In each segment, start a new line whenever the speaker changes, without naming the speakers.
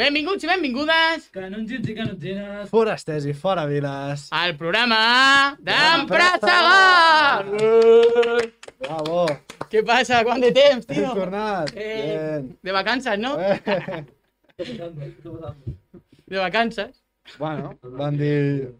Benvinguts i benvingudes
Canongins i canongines.
Forasters i fora viles.
al programa d'Empressagar!
Bravo.
Què passa? Quant de temps, tio?
Hem tornat.
Eh,
Bien.
de vacances, no?
Eh.
Tornem
De vacances.
Bueno, van dir...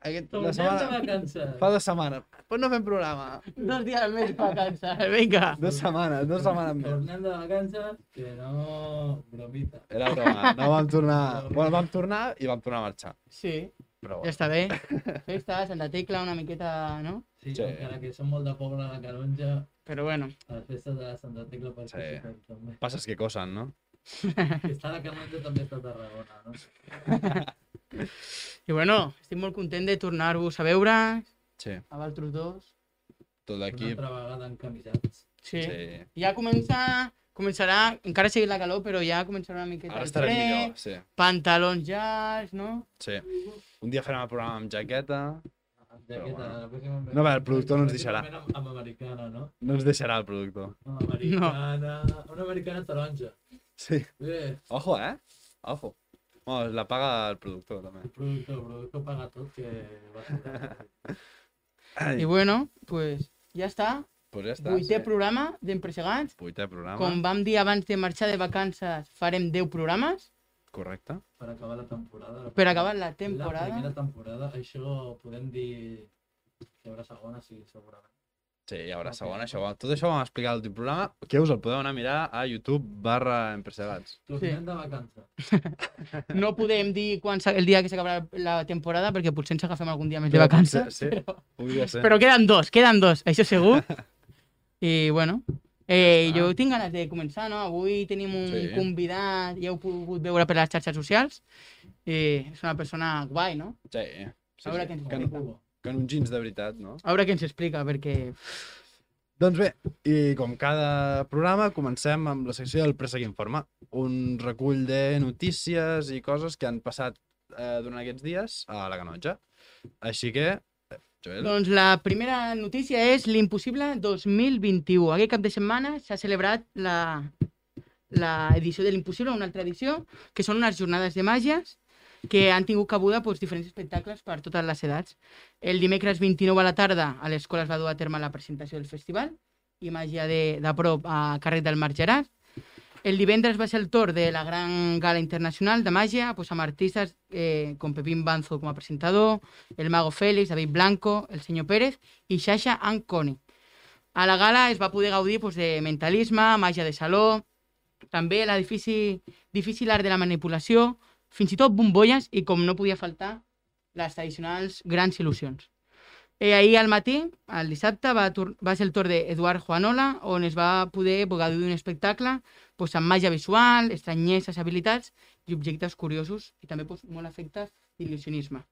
Aquest, la
de
setmana...
vacances.
Fa dues setmanes. Pues no fem programa.
Dos dies més vacances, Eh, vinga.
Dues setmanes, dues setmanes més.
Tornem de vacances, que no... Bromita.
Era broma, no vam tornar... Bueno, vam tornar i vam tornar a marxar.
Sí,
Però
ja
bueno.
està bé. Festa, Santa Tecla, una miqueta, no?
Sí,
Sí.
encara que som molt de poble a la Canonja,
Però bueno,
a les festes de la Santa Tecla participen també.
Passes que cosen, no?
Que està a la Canonja també està a Tarragona, no?
i bueno, estic molt content de tornar-vos a veure,
Sí,
a Valtros dos.
tot
Una
l'equip.
altra vegada encamisats.
Sí. sí.
Sí.
Ja comença... Començarà, encara sigui la calor, però ja començarà una miqueta
Ara
el
estarem
fred,
millor, sí.
Pantalons llargs, no?
Sí. Un dia farem el programa amb jaqueta.
Ja que
bueno.
la pròxima...
No, va, el productor no ens deixarà.
Amb, amb americana, no?
No ens deixarà el productor.
Amb americana... Una americana taronja.
Sí.
Bé,
Ojo, eh? Ojo. Bueno, la paga el productor, també.
el productor, el productor paga tot, que va sobrar.
I bueno, pues ja està.
Pues ja està.
Vuitè programa d'Empressegats.
Vuitè programa.
Com vam dir abans de marxar de vacances, farem 10 programes
Correcte.
per acabar la temporada. La
per acabar la
La
temporada.
primera temporada, això podem dir que hi haurà segona, sí, segurament.
Sí, hi haurà
Ok.
segona, això, ho- tot això ho vam explicar a l'últim programa, que us el podeu anar a mirar a YouTube barra Empresegats.
Tornem de vacances.
No podem dir quan s'ha- el dia que s'acabarà la temporada perquè potser ens agafem algun dia més de vacances.
Sí, sí. podria ser.
Però queden dos, queden dos, això segur. I bueno, eh,
Ah.
jo tinc ganes de començar, no? Avui tenim un
Sí.
convidat, ja ho he pogut veure per les xarxes socials. Eh, és una persona guai, no?
Sí, sí,
A veure què
sí.
ens
Que, no- que no un jeans de veritat, no?
A veure què ens explica, perquè
Doncs bé, i com cada programa, comencem amb la secció del Préssec Informa, un recull de notícies i coses que han passat eh, durant aquests dies a la Canonja. Així que, eh, Joel,
Doncs la primera notícia és l'impossible 2021. Aquest cap de setmana s'ha celebrat la la edició de l'impossible, una altra edició, que són unes jornades de màgies que han tingut cabuda doncs, diferents espectacles per totes les edats. El dimecres 29 a la tarda a l'escola es va dur a terme la presentació del festival i màgia de, de prop a càrrec del Marc Gerard. El divendres va ser el torn de la gran gala internacional de màgia doncs, amb artistes eh, com Pepín Banzo com a presentador, el Mago Félix, David Blanco, el senyor Pérez i Xaxa Anconi. A la gala es va poder gaudir doncs, de mentalisme, màgia de saló, també l'edifici difícil art de la manipulació, fins i tot bombolles i, com no podia faltar, les tradicionals grans il·lusions. Eh, ahir al matí, el dissabte, va, tor- va ser el torn d'Eduard Juanola, on es va poder gaudir d'un espectacle doncs, amb màgia visual, estranyeses, habilitats i objectes curiosos i també doncs, molt efectes d'il·lusionisme.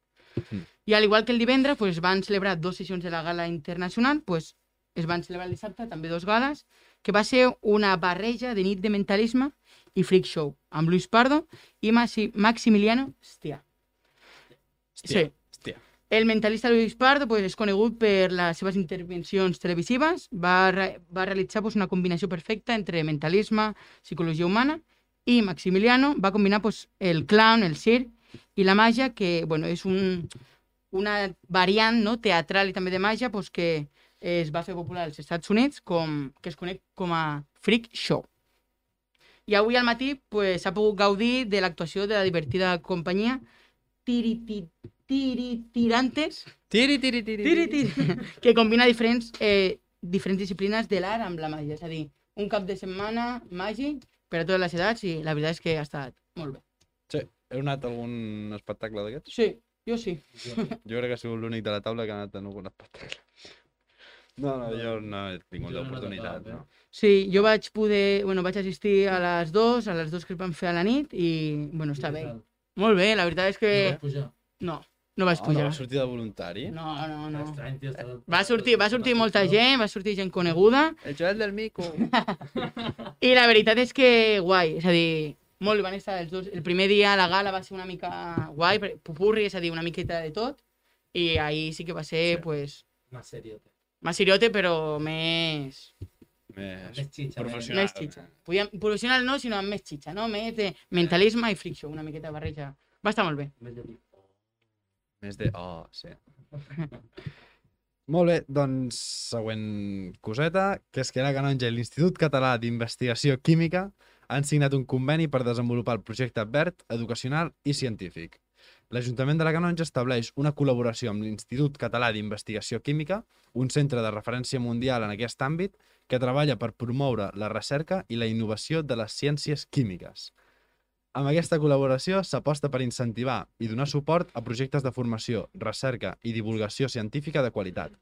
I al igual que el divendres, pues, van celebrar dos sessions de la gala internacional, pues, es van celebrar el dissabte també dos gales, que va ser una barreja de nit de mentalisme i freak show, amb Luis Pardo i Maxi Maximiliano Stia.
Hòstia,
Sí.
hòstia.
El mentalista Luis Pardo pues, és conegut per les seves intervencions televisives. Va, re va realitzar pues, una combinació perfecta entre mentalisme, psicologia humana i Maximiliano va combinar pues, el clown, el circ i la màgia, que bueno, és un, una variant no, teatral i també de màgia pues, que es va fer popular als Estats Units, com, que es conec com a Freak Show. I avui al matí pues, s'ha pogut gaudir de l'actuació de la divertida companyia Tiriti, tiri, tirantes,
Tiri, tiri, tiri.
tiri, tiri, que combina diferents, eh, diferents disciplines de l'art amb la màgia. És a dir, un cap de setmana màgic per a totes les edats i la veritat és que ha estat molt bé.
Sí, heu anat a algun espectacle d'aquests?
Sí, jo sí.
Jo crec que ha sigut l'únic de la taula que ha anat a algun espectacle. No, no, jo no he tingut
Jo no he
l'oportunitat,
tocat, eh?
no.
Sí, jo vaig poder, bueno, vaig assistir a les dues, a les dues que es van fer a la nit i, bueno, està bé. Molt bé, la veritat és que...
Eh... Pujar.
No, no vaig
Ah, no,
pujar.
va sortir de voluntari?
No, no, no.
Estrany, tio, estarà-
Va sortir, va sortir molta gent, va sortir gent coneguda
El Joel del Mico.
I la veritat és que guai, és a dir, molt van estar els dos. El primer dia la gala va ser una mica guai, per- pupurri, és a dir, una miqueta de tot. I ahir sí que va ser,
Sí.
pues,
Una sèrie.
más iriote, però més...
més
Més xitxa.
professional.
Més xitxa. Podíem, professional no, sinó amb més xitxa, no? Més de mentalisme i freak show, una miqueta barreja. Va estar molt bé.
Més de tipus.
Més de... Oh, sí. Molt bé, doncs, següent coseta, que és que la Canonja i l'Institut Català d'Investigació Química han signat un conveni per desenvolupar el projecte verd, educacional i científic. L'Ajuntament de la Canonja estableix una col·laboració amb l'Institut Català d'Investigació Química, un centre de referència mundial en aquest àmbit, que treballa per promoure la recerca i la innovació de les ciències químiques. Amb aquesta col·laboració s'aposta per incentivar i donar suport a projectes de formació, recerca i divulgació científica de qualitat,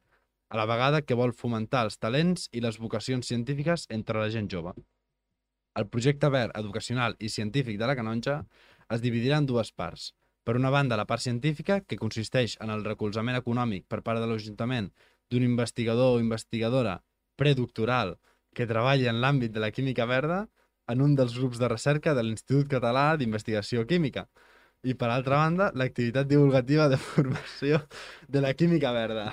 a la vegada que vol fomentar els talents i les vocacions científiques entre la gent jove. El projecte verd educacional i científic de la Canonja es dividirà en dues parts. Per una banda, la part científica, que consisteix en el recolzament econòmic per part de l'Ajuntament d'un investigador o investigadora predoctoral que treballi en l'àmbit de la química verda, en un dels grups de recerca de l'Institut Català d'Investigació Química. I, per altra banda, l'activitat divulgativa de formació de la química verda.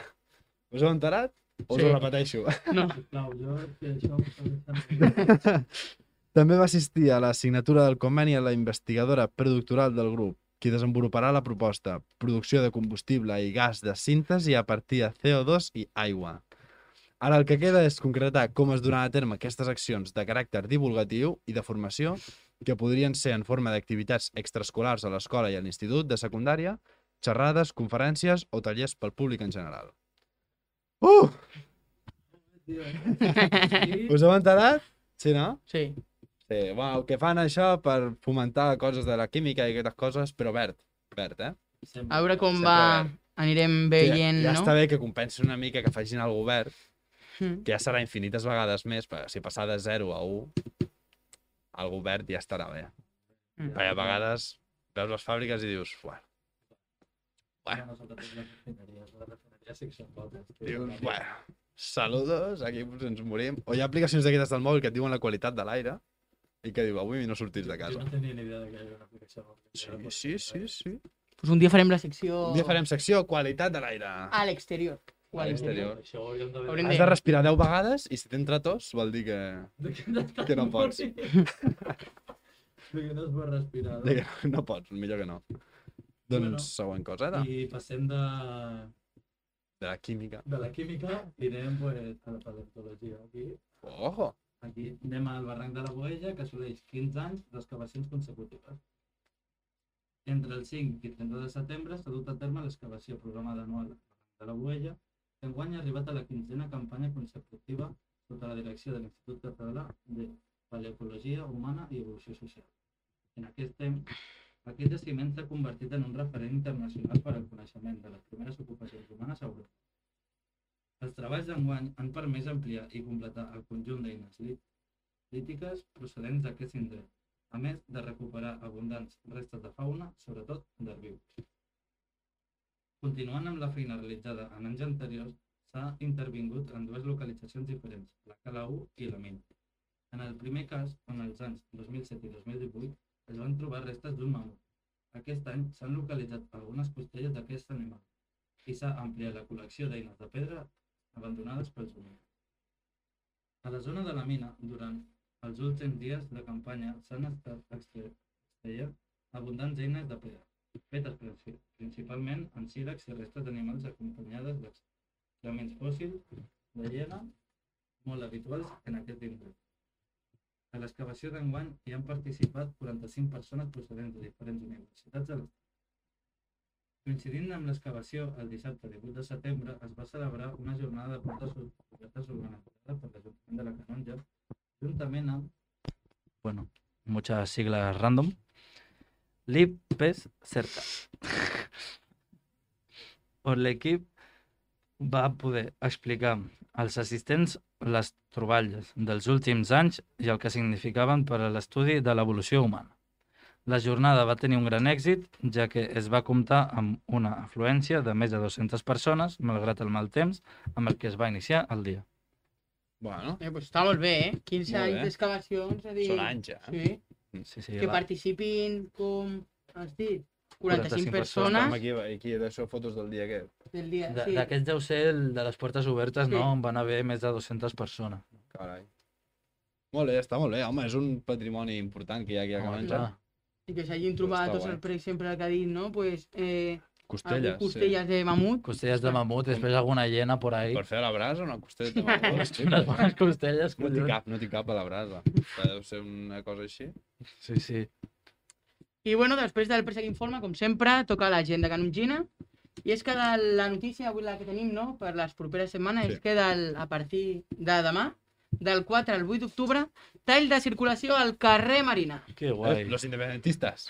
Us heu enterat? O us
Sí.
ho repeteixo?
No.
No, jo això ho faig
També va assistir a la signatura del conveni a la investigadora predoctoral del grup, qui desenvoluparà la proposta producció de combustible i gas de síntesi a partir de CO2 i aigua. Ara el que queda és concretar com es duran a terme aquestes accions de caràcter divulgatiu i de formació que podrien ser en forma d'activitats extraescolars a l'escola i a l'institut de secundària, xerrades, conferències o tallers pel públic en general. Uh!
també.
Us heu enterat? Sí, no?
Sí.
Sí, bueno, que fan això per fomentar coses de la química i aquestes coses, però verd, verd, eh?
A veure com
Sempre
va...
verd.
Anirem
Que
veient,
ja, ja
no?
està bé que compensin una mica que facin el govern,
Mm.
que ja serà infinites vegades més, perquè si passar de 0 a 1, el govern ja estarà bé.
Mm.
Perquè a vegades veus les fàbriques i dius, bueno,
Bueno, nosaltres les refineries, les refineries sí que són bones. tio.
dius, bueno, saludos, aquí potser ens morim. O hi ha aplicacions d'aquestes del mòbil que et diuen la qualitat de l'aire i que diu, avui no sortits de
Jo
casa.
no tenia ni idea de que hi havia una aplicació.
Sí, sí, sí, sí.
Pues un dia farem la secció...
Un dia farem secció qualitat de l'aire.
A l'exterior. O a
A
l'interior.
l'exterior.
Això ho hauríem de
Hauríem
Has de respirar 10 vegades i si t'entra tos vol dir que...
de...
Que no pots.
De que no es pot respirar. no?
de que no pots, millor que no. Doncs
Bueno.
següent cosa, era,
I passem de,
de la química.
de la química i anem pues, a la paleontologia. Aquí,
Ojo!
aquí anem al barranc de la Boella, que assoleix 15 anys d'excavacions consecutives. Entre el 5 i 30 de setembre s'ha dut a terme l'excavació programada anual al barranc de la Boella, que enguany ha arribat a la quinzena campanya consecutiva sota la direcció de l'Institut Català de Paleocologia Humana i Evolució Social. En aquest temps, aquest jaciment s'ha convertit en un referent internacional per al coneixement de les primeres ocupacions humanes a Europa. Els treballs d'enguany han permès ampliar i completar el conjunt d'eines lí- lítiques procedents d'aquest indret, a més de recuperar abundants restes de fauna, sobretot d'herbívors. Continuant amb la feina realitzada en anys anteriors, s'ha intervingut en dues localitzacions diferents, la Cala 1 i la Mina. En el primer cas, en els anys 2007 i 2018, es van trobar restes d'un mamut. Aquest any s'han localitzat algunes costelles d'aquest animal i s'ha ampliat la col·lecció d'eines de pedra abandonades pels humans. A la zona de la mina, durant els últims dies de campanya, s'han estat extraient abundants eines de pedra, fetes princi- principalment en sílex i restes d'animals acompanyades d'excrements fòssils de llena molt habituals en aquest indret. A l'excavació d'enguany hi han participat 45 persones procedents de diferents universitats de l'estat. Coincidint amb l'excavació, el dissabte 18 de setembre es va celebrar una jornada de portes obertes organitzada per l'Ajuntament de la Canonja, juntament amb
Bueno, muchas siglas random. Lipes cerca. Per l'equip va poder explicar als assistents les troballes dels últims anys i el que significaven per a l'estudi de l'evolució humana. La jornada va tenir un gran èxit, ja que es va comptar amb una afluència de més de 200 persones, malgrat el mal temps amb el que es va iniciar el dia.
Bueno,
Eh, pues està molt bé, eh? 15
Molt
anys
bé.
d'excavacions, és a dir...
són anys, eh? ja.
Sí,
Sí, sí,
que
va.
participin com... Has dit? 45,
45
persones,
Estem aquí, aquí, d'això, fotos del dia aquest.
del dia.
De-
sí.
D'aquest deu ser el de les portes obertes,
Sí.
no? En van haver més de 200 persones.
Carai. Molt bé, està molt bé, home, és un patrimoni important que hi ha aquí a
Home,
Canonja.
clar.
I que s'hagin trobat,
Està
doncs,
guai.
el, per exemple, el que ha dit, no? Pues, eh,
Costelles,
costelles, costelles de mamut.
Costelles de mamut, després alguna hiena por
sí.
ahí.
Per fer a la brasa una costella de mamut, sí,
Unes
però
bones costelles,
no t'hi
collons.
cap, no t'hi cap a la brasa. Deu ser una cosa així.
Sí, sí.
I bueno, després del préssec informa, com sempre, toca l'agenda canongina. I és que de la notícia avui la que tenim, no?, per les properes setmanes,
Sí.
és que del, a partir de demà, del 4 al 8 d'octubre, tall de circulació al carrer Marina.
Que
Eh,
guai.
los independentistas.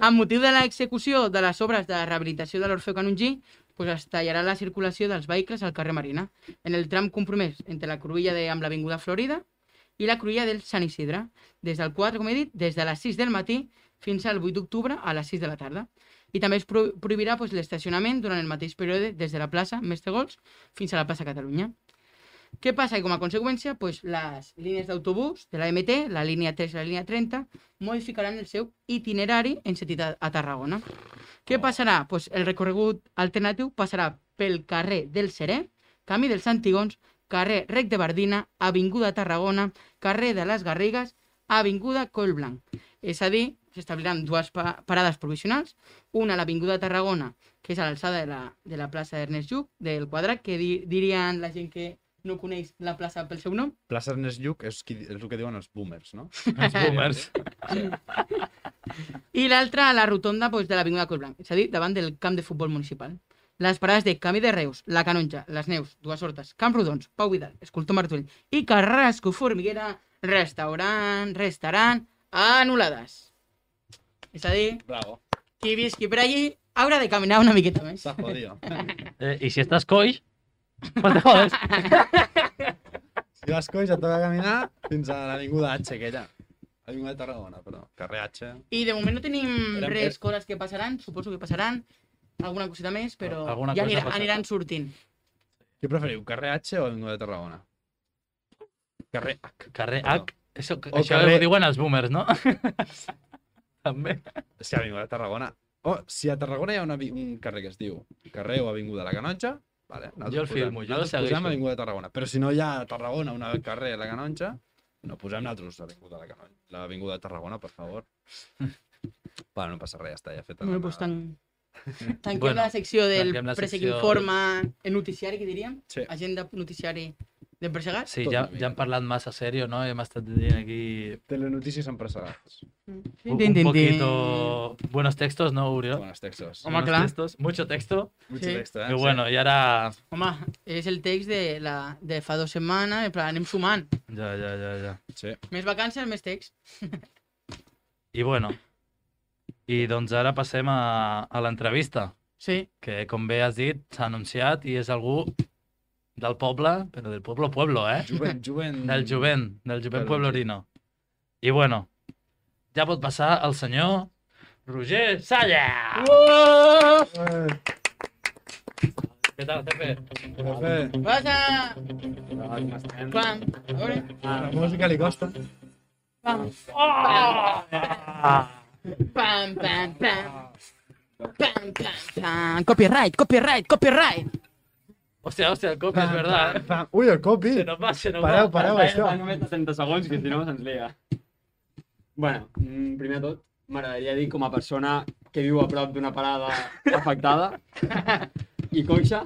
Amb motiu de l'execució de les obres de rehabilitació de l'Orfeu Canongí, pues es tallarà la circulació dels vehicles al carrer Marina, en el tram compromès entre la cruïlla de, amb l'Avinguda Florida i la cruïlla del Sant Isidre, des del 4, com he dit, des de les 6 del matí fins al 8 d'octubre a les 6 de la tarda. I també es pro prohibirà pues, l'estacionament durant el mateix període des de la plaça Mestre Gols fins a la plaça Catalunya. Què passa? I com a conseqüència, pues, les línies d'autobús de la MT, la línia 3 i la línia 30, modificaran el seu itinerari en sentit a, a Tarragona. Què passarà? Pues el recorregut alternatiu passarà pel carrer del Serè, Camí dels Antigons, carrer Rec de Bardina, Avinguda Tarragona, carrer de les Garrigues, Avinguda Coll Blanc. És a dir, s'establiran dues pa parades provisionals, una a l'Avinguda Tarragona, que és a l'alçada de, la, de la plaça d'Ernest Lluc, del quadrat, que di dirien la gent que no coneix la plaça pel seu nom,
Plaça Ernest Lluc és, qui, és el que diuen els boomers, no?
Els
Eh,
boomers.
I l'altra a la rotonda doncs, de l'Avinguda Collblanc, és a dir, davant del camp de futbol municipal. Les parades de Camí de Reus, La Canonja, Les Neus, Dues Hortes, Camp Rodons, Pau Vidal, Escultor Martull i Carrasco Formiguera, restaurant, restaurant, anul·lades. És a dir,
Bravo.
qui visqui per allí haurà de caminar una miqueta més.
S'ha jodido.
Eh, I si estàs coix, pues te jodes.
Si vas coix et toca caminar fins a l'avinguda H, aquella. Avinguda de Tarragona, però. Carrer H.
I de moment no tenim
Érem-
res, coses que passaran, suposo que passaran, alguna cosita més, però
Alguna
ja
cosa
anirà,
passarà.
aniran sortint.
Què preferiu, carrer H o avinguda de Tarragona? Carrer H.
Carrer
Perdó.
H. Això,
O
això
carrer-
ho diuen els boomers, no? També.
És que avinguda de Tarragona... Oh, si a Tarragona hi ha una, vi- un carrer que es diu carrer o avinguda la Canonja, vale, nosaltres
Jo el
posem-
filmo, jo
nosaltres
segueixo.
posem avinguda de Tarragona. Però si no hi ha a Tarragona una carrer la Canonja, no posem nosaltres l'avinguda la Canonja. L'avinguda de Tarragona, per favor. bueno, no passa res, ja està, ja feta.
Bueno,
la-
pues tan... Tanquem
Bueno,
la secció del
tanquem la
Préssec
secció.
Informa, el noticiari, que diríem?
Sí.
Agenda noticiari de Pressegat.
Sí,
Tot
ja,
una mica.
ja hem parlat massa serio, no? Hem estat dient aquí
Telenotícies empresarials.
Mm.
un, un poquito... Buenos textos, no, Oriol?
Buenos textos.
Home,
Buenos
clar.
textos, mucho texto.
Mucho
sí.
texto, eh?
Que bueno, i ara...
Home, és el text de, la, de fa dues setmanes, en plan, anem sumant.
Ja, ja, ja, ja.
Sí.
Més vacances, més text.
I bueno, i doncs ara passem a, a l'entrevista,
Sí,
que com bé has dit, s'ha anunciat i és algú del poble, però del poble pueblo, eh?
Juvent, juvent...
Del jovent, del jovent
Perdó,
pueblorino. I bueno, ja pot passar el senyor Roger Salla! Uh!
Eh,
Què tal, Pepe?
Pepe,
passa! Pam, a veure,
la música li costa.
pam, pam, pam, pam. Pam, pam, pam. Copyright, copyright, copyright.
Hòstia, hòstia, el cop és verdad, eh?
Pam, Ui, el copy!
Se nos va, se nos
Pareu,
va.
pareu, això.
Fa només 60 segons, que si no se'ns lia. bueno, mm, primer de tot, m'agradaria dir com a persona que viu a prop d'una parada afectada i coixa,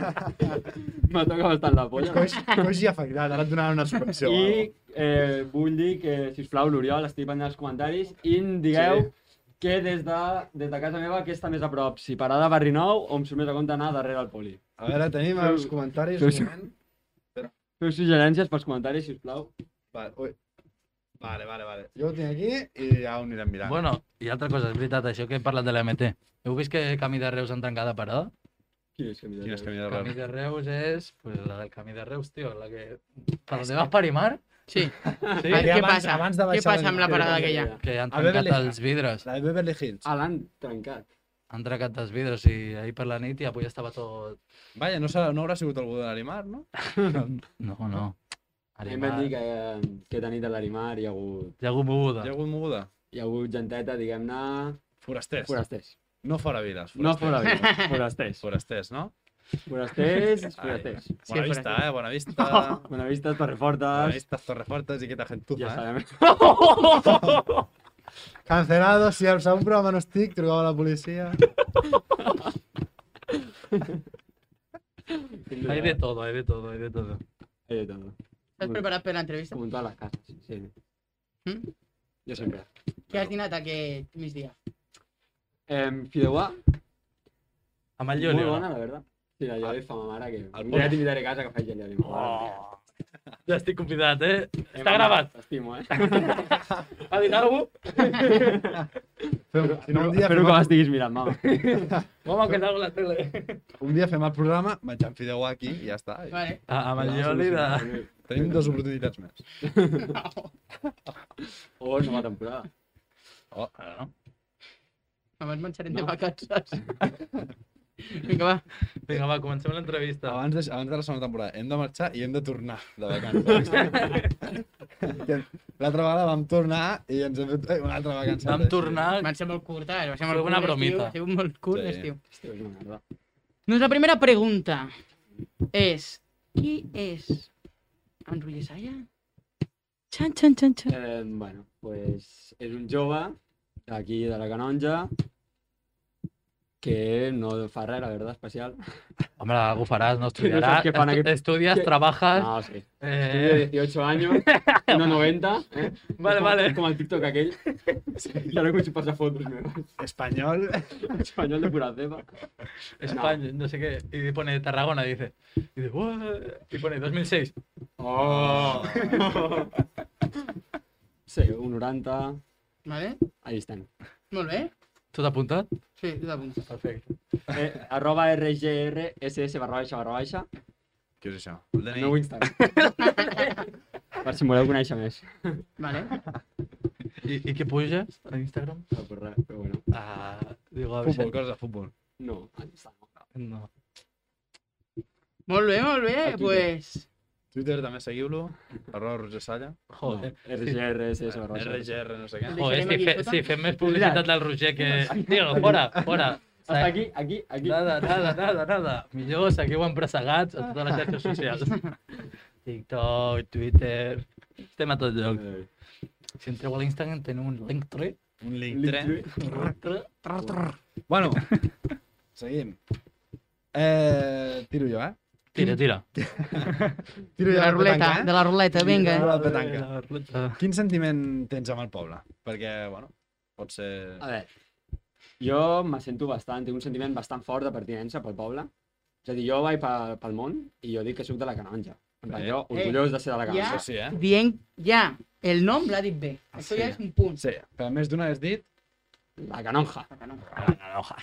me toca bastant la polla.
Coix, coix i afectat, ara et donaran una subvenció. o
I
alguna
eh, vull dir que, sisplau, l'Oriol, estic pendent dels comentaris i em digueu
Sí.
que des de, des de casa meva què està més a prop, si parada a Barri Nou o em surt més a compte anar darrere al poli.
cosa. A veure, tenim els comentaris.
Feu-
un moment.
Feu suggerències pels comentaris, sisplau.
Vale, ui. Vale, vale, vale. Jo ho tinc aquí i ja ho anirem mirant.
Bueno, i altra cosa, és veritat, això que he parlat de l'MT. Heu vist que Camí de Reus han trencat de parada?
Quin és camí de
Quin és camí de
Camí
Reus?
de Reus és... Pues, la del Camí de Reus, tio, la que... Per on vas parimar?
Sí,
Sí,
a veure,
que
què
abans-
passa?
abans de
Què
baixar
passa amb la
l'helicòpter?
parada aquella?
que han
A veure,
trencat
Alexa.
els vidres.
La de Beverly Hills.
Ah, l'han trencat.
Han trencat els vidres i ahir per la nit i avui estava tot...
Vaja, no, serà, no haurà sigut algú de l'Arimar, no?
No, no.
A mi em van
Arribar.
dir que, que de nit a l'Arimar hi ha hagut,
Hi ha hagut moguda.
Hi ha hagut moguda?
hi ha hagut genteta, diguem-ne...
Forasters.
Forasters.
No fora viles.
No
forasters.
fora vida, forasters.
Forasters, no?
Forasters, forasters.
Bona
Sí,
vista,
Forasters.
eh? Bona vista.
Bona vista,
Bona
Torrefortes.
vista, Torrefortes i aquesta gentuza,
Ja
eh?
sabem.
Cancelado, si al segon programa no estic, trucava a la policia.
Hay de todo, hay de todo, hay de todo.
Hay de todo.
¿Estás preparado para la entrevista?
Como en todas las casas. Sí.
¿Mm?
Yo siempre.
¿Qué has dinat aquest migdia?
Eh, Fideuà,
Amb el
Yo Muy
Llulio.
bona, la verdad. Sí, la llave fa ma mare que...
al
Un dia t'invitaré a casa que faig allò.
Oh. Ja estic convidat, eh? Està gravat.
T'estimo, eh?
A dinar-ho.
Fem, si no, un dia,
Espero
fem,
que l'estiguis mirant, mama.
Vamos a quedar la tele.
Un dia fem el programa, vaig amb Fideu aquí i ja està.
Vale.
Ah, amb el Lluli de...
Tenim dues oportunitats més.
O és nova temporada.
Oh,
Ara no.
Abans marxarem de
No.
vacances. Vinga, va.
Vinga, va, comencem l'entrevista.
abans, de, abans de la segona temporada hem de marxar i hem de tornar de vacances. L'altra vegada vam tornar i ens hem fet "Ei, una altra vacança.
Vam tornar...
Va ser molt curta, eh? va ser
Fue
molt
una
curt l'estiu,
bromita.
Ha sigut molt curt
Sí.
l'estiu.
Hòstia, és una merda.
Nuestra primera pregunta es... ¿Qui és Andrew Yesaya? Chan, chan, chan, chan.
Eh, bueno, pues és un jove d'aquí de la Canonja que no fa res, la verdad, especial.
Home, algú faràs, no
estudiaràs,
estudiaràs.
estu-
Estudias, trabajas...
No, sí.
Eh...
Tiene 18 años, 1,90. Eh?
Vale,
com,
vale.
Com el TikTok aquell. I ara començo a passar fotos meves.
Espanyol.
Espanyol de pura ceba.
España, no. sé qué. Y pone Tarragona, dice. Y, dice, "Buah", y pone 2006.
Oh! sí, un 90.
Vale?
Ahí estan.
Molt bé.
¿Tú te apuntas?
Sí, jo t'apunto.
Perfecto.
Eh, arroba rgrss barra baixa barra baixa.
Què és això? El
El
DNI?
meu Instagram. per si em voleu conèixer més.
Vale.
¿Y, y qué pujas a Instagram?
No, pues res, però bueno.
Ah, digo, a ver si-
Futbol, coses de futbol.
No, a Instagram.
No.
Molt bé, molt bé.
A Twitter.
Pues...
Twitter també seguiu-lo. Arroba Roger Salla.
Joder.
No, rgrss barra baixa.
RGR, no sé què.
Deixarem
Joder, si,
aquí
fe,
sota.
si fem més publicitat del Roger que... Digo, fora, fora.
Hasta aquí, aquí, aquí.
Nada, nada, nada, nada. Millor seguiu empresagats a totes les xarxes socials. TikTok, Twitter... Este Estem a tot lloc.
Eh,
Si entreu a l'Instagram teniu un link tree.
Un link
Linktree.
3.
Tre-
Bueno, seguim. Eh, tiro jo, eh?
Tira, tira.
De
Tiro jo
la
la
ruleta,
petanca, eh?
de la ruleta, vinga.
La petanca.
Eh, La ruleta.
Quin sentiment tens amb el poble? Perquè, bueno, pot ser...
A veure, jo me sento bastant, tinc un sentiment bastant fort de pertinença pel poble. És a dir, jo vaig pel, pel món i jo dic que sóc de la Canonja. En plan,
Bé.
Eh.
jo orgullós de ser de la
ja.
Canonja.
Això sí, eh?
Dient ja, el nom l'ha dit bé. Això
Sí.
ja és un punt.
Sí, però més d'una has dit...
La Canonja.
La naranja.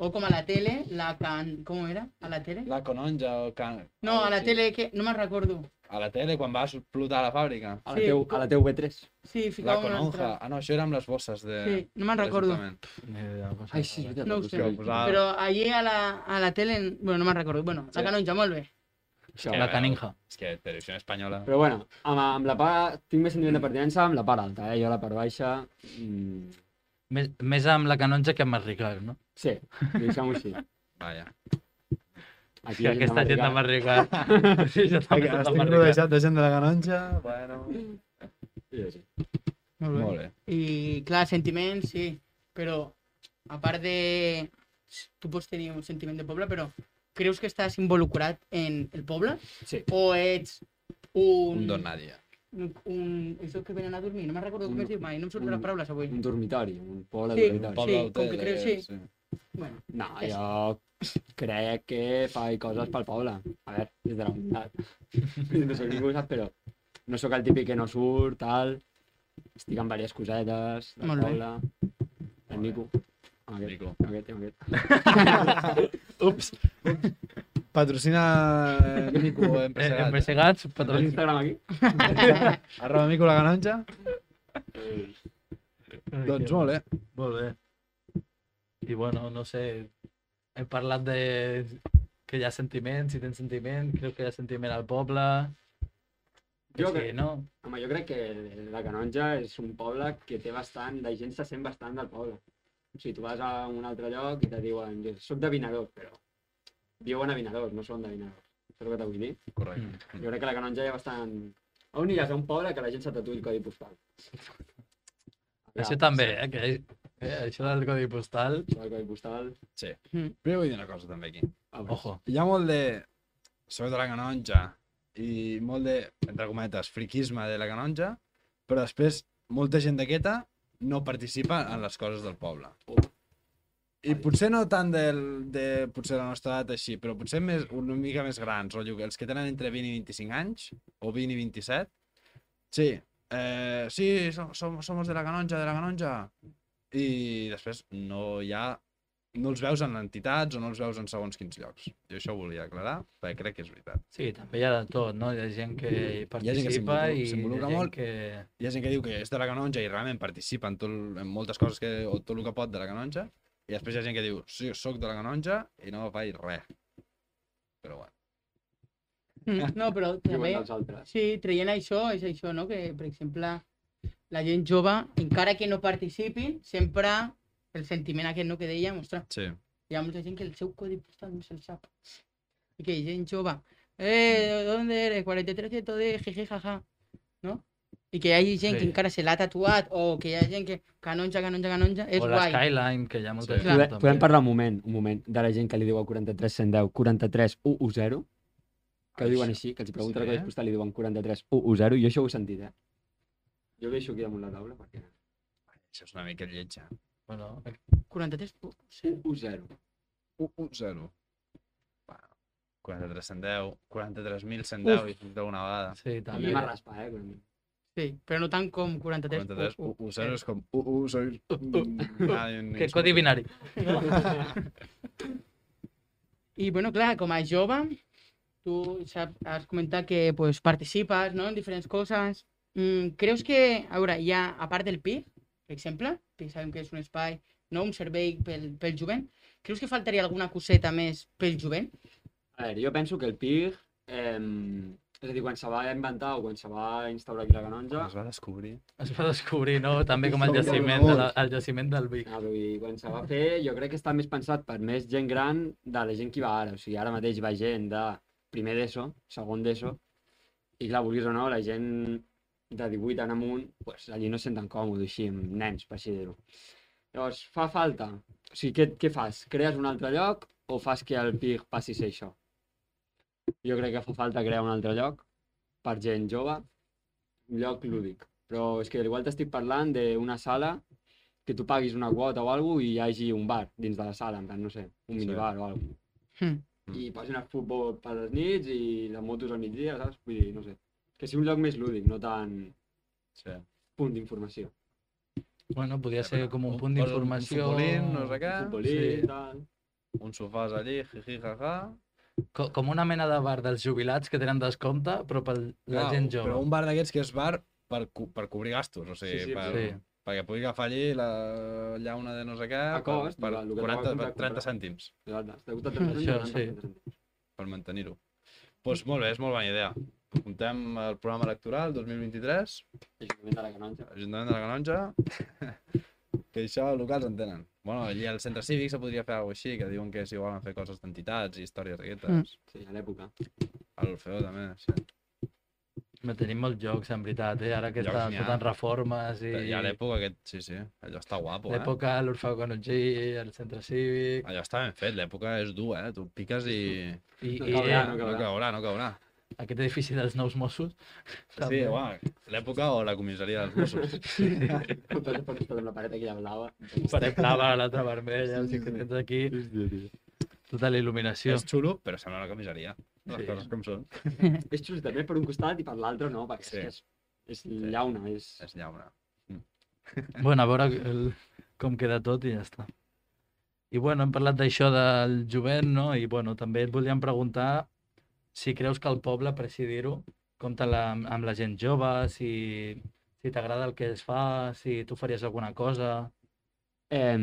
O com a la tele, la can... Com era? A la tele?
La Cononja o Can...
No, a la
sí.
tele, que no me'n recordo.
A la tele, quan va explotar la fàbrica.
A la,
Sí.
teu, a la teu B3.
Sí,
La
ficava una
Cononja.
altra.
Ah, no, això era amb les bosses de...
Eh,
Sí, no me'n recordo.
l'Ajuntament.
Ni idea, no sé.
Ai, sí, és veritat.
No ho
la
sé.
ah,
Cononja.
Posava-
Però allí a la, a la tele, bueno, no me'n recordo. Bueno, la
Sí.
canonja, molt bé.
Això.
La canija.
És que televisió espanyola...
Però bueno, amb, amb la part... Tinc més sentiment de pertinença amb la part alta, eh? Jo la part baixa... Mm,
Més, més amb la canonja que amb el Ricard, no?
sí, deixem-ho així.
Vaja.
Aquí
Sí,
la
aquesta gent de
americana.
Mar Ricard. Sí, jo també soc de
Estic
Mar Ricard.
rodejat de gent de la Canonja. Bueno...
Sí, sí.
Molt
eh.
Molt bé.
I clar, sentiments, sí. Però a part de... Tu pots tenir un sentiment de poble, però creus que estàs involucrat en el poble?
Sí.
O ets un...
Un don nadie.
Un, un- Això que venen a dormir, no me'n recordo com
Un-
es diu mai, no em surten
un-
les paraules avui.
Un dormitori, un poble
Sí.
dormitori.
Sí, com que creus, sí.
sí.
Bueno,
No,
És-
jo crec que faig coses pel poble. A veure, des de la humilitat. No soc ningú, saps? Però no sóc el típic que no surt, tal. Estic amb diverses cosetes del
Molt bé.
poble. El mico. Amb Aquest,
Mico.
amb aquest, amb aquest.
Patrocina eh, Mico,
Eh,
empresagat. Eh,
Empresegats,
Tens
patrocin.
Instagram aquí?
Arroba Mico la Canonja. Doncs molt bé.
Molt bé. I bueno, no sé, hem parlat de que hi ha sentiment, si tens sentiment, crec que hi ha sentiment al poble. Que
Jo
sí,
crec-
no?
Home, jo crec que la Canonja és un poble que té bastant... La gent se sent bastant del poble. O sigui, tu vas a un altre lloc i te diuen, jo soc de Vinaròs, però viuen a Vinaròs, no són de Vinaròs. Això és el que t'ho vull dir.
Correcte. Mm.
Jo crec que la canonja ja bastant... On aniràs? A un poble que la gent se tatuï el codi postal. Ah,
Això també, eh? Que, eh? Això del codi postal,
Això del codi postal...
Però jo vull dir una cosa també aquí.
Ah, bé.
ojo.
Hi ha molt de... Sobretot la canonja. I molt de, entre cometes, friquisme de la canonja. Però després, molta gent d'aquesta no participa en les coses del poble. I potser no tant del, de potser la nostra edat així, però potser més, una mica més grans, rotllo, que els que tenen entre 20 i 25 anys, o 20 i 27, sí, eh, sí, som, som, somos de la canonja, de la canonja, i després no hi ha, no els veus en entitats o no els veus en segons quins llocs. Jo això ho volia aclarar, perquè crec que és veritat.
Sí, també hi ha de tot, no? Hi ha gent que hi
Hi ha gent que
participa
s'involucra-
i hi ha
s'involucra
gent
molt.
que...
Hi ha gent que diu que és de la canonja i realment participa en, tot, en moltes coses que, o tot el que pot de la canonja, i després hi ha gent que diu, sí, sóc de la canonja i no faig res. Però bueno.
Mm, No, però també,
Viuen dels altres.
sí, traient això, és això, no? Que, per exemple, la gent jove, encara que no participin, sempre el sentiment aquest, no?, que dèiem, ostres,
Sí.
hi ha molta gent que el seu codi postal no se'l sap. I que hi ha gent jove, eh, ¿dónde eres? 4310, jiji, jaja, no? I que hi hagi gent que
Sí.
encara se l'ha tatuat o que hi ha gent que canonja, canonja, canonja, és
O
guai.
l'Skyline, que hi ha molta
Sí.
gent
Podem,
també.
podem parlar un moment, un moment, de la gent que li diu al 43 110 43 110? Que ho diuen així, que els pregunten
Sí.
sí. el codi postal i diuen 43 110. Jo això ho he sentit, eh? Jo ho deixo aquí damunt la taula perquè...
Això és una mica lletja.
Bueno,
43, oh, sí.
110.
1-0. 4310, 43.110 i fins d'una vegada.
sí,
A
també.
mi m'ha raspat, eh? quan-
sí, però no tant com 43.
43,
oh, oh.
eh.
1-0 és com 1-1-0.
Que codi binari.
I, bueno, clar, com a jove, tu saps, has comentat que pues, participes no? en diferents coses. Mm, creus que, a veure, hi ha, a part del PIC, per exemple, que sabem que és un espai, no? un servei pel, pel jovent, creus que faltaria alguna coseta més pel jovent?
A veure, jo penso que el PIG, eh, és a dir, quan se va inventar o quan se va instaurar aquí la canonja,
Es va descobrir.
Es va descobrir, no? També com el
Sobre
jaciment, de la, el jaciment del Vic.
Ah, vull dir, quan se va fer, jo crec que està més pensat per més gent gran de la gent que hi va ara. O sigui, ara mateix va gent de primer d'ESO, segon d'ESO, i clar, vulguis o no, la gent de 18 en amunt, pues, allí no es senten còmode, així, amb nens, per així dir-ho. Llavors, fa falta. O sigui, què, què fas? Crees un altre lloc o fas que el PIG passi a ser això? Jo crec que fa falta crear un altre lloc per gent jove, un lloc lúdic. Però és que igual t'estic parlant d'una sala que tu paguis una quota o alguna i hi hagi un bar dins de la sala, en plan, no sé, un
Sí.
minibar o alguna
Hmm.
Hm.
Mm.
I posin el futbol per les nits i les motos al migdia, saps? Vull dir, no sé. Que sigui un lloc més lúdic, no tan
Sí.
punt d'informació.
Bueno, podia ser com un punt
Poses
d'informació...
Un futbolín, no sé què.
Futbolí
sí.
i tal.
Un sofàs allí, jiji, jaja.
Co- Com una mena de bar dels jubilats que tenen descompte, però per la
Clar,
gent jove.
Però un bar d'aquests que és bar per, co- per cobrir gastos, o sigui,
Sí, sí,
per,
Sí.
perquè pugui agafar allí la llauna de no sé què
A cost,
per,
el que
per,
t'acaba
40,
de
per
comprar.
30 cèntims,
T'ha gustat
Això, sí.
per mantenir-ho. Doncs pues molt bé, és molt bona idea. Comptem el programa electoral 2023,
Ajuntament de la Canonja.
Ajuntament de la Canonja, que això locals en tenen. Bueno, allí al centre cívic se podria fer alguna cosa així, que diuen que s'hi volen fer coses d'entitats i històries aquestes.
Mm.
Sí, a l'època.
Al feo també, sí.
Me tenim molts jocs, en veritat, eh? Ara que
Jocs
estan
n'hi ha.
totes reformes i...
I a l'època aquest, sí, sí, allò està guapo, eh?
L'època, l'Orfeo Canongí, el centre cívic...
Allò està ben fet, l'època és dur, eh? Tu piques i...
I,
No
i
caurà,
eh,
no
No
caurà.
caurà, no caurà.
aquest edifici dels nous Mossos.
Sí,
també.
home, l'època o la comissaria dels Mossos.
Entonces, per estar amb la paret aquella blava.
Farem blava, l'altra vermella, els que tens aquí, tota la il·luminació.
És xulo, però sembla una comissaria. Les
Sí.
coses com són.
És xus també per un costat i per l'altre no, perquè
Sí.
sí. és, és llauna, és...
És llauna.
Bueno, a veure el, com queda tot i ja està. I bueno, hem parlat d'això del jovent, no? I bueno, també et volíem preguntar si creus que el poble, per així dir-ho, compta la, amb la gent jove, si, si t'agrada el que es fa, si tu faries alguna cosa...
Eh,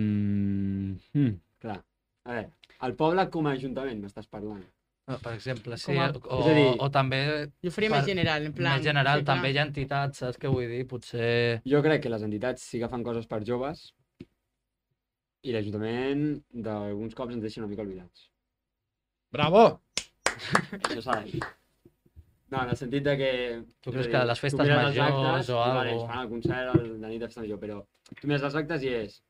mm, clar. A veure, el poble com a ajuntament m'estàs parlant.
No, Per exemple, sí,
Com a-
o,
És a dir-
o també
Jo faria
Per-
més general, en plan...
Plan, més general,
sí, clar.
també hi ha entitats, saps què vull dir? Potser...
Jo crec que les entitats sí que fan coses per joves i l'Ajuntament d'alguns cops ens deixa una mica oblidats.
Bravo!
Això s'ha de dir. No, en el sentit de que...
Tu
és
creus
a
que a les
tu
festes
mires els
majors o
actes i, vale,
algo.
es fan el concert el, la nit de festa major, però tu mires els actes i és...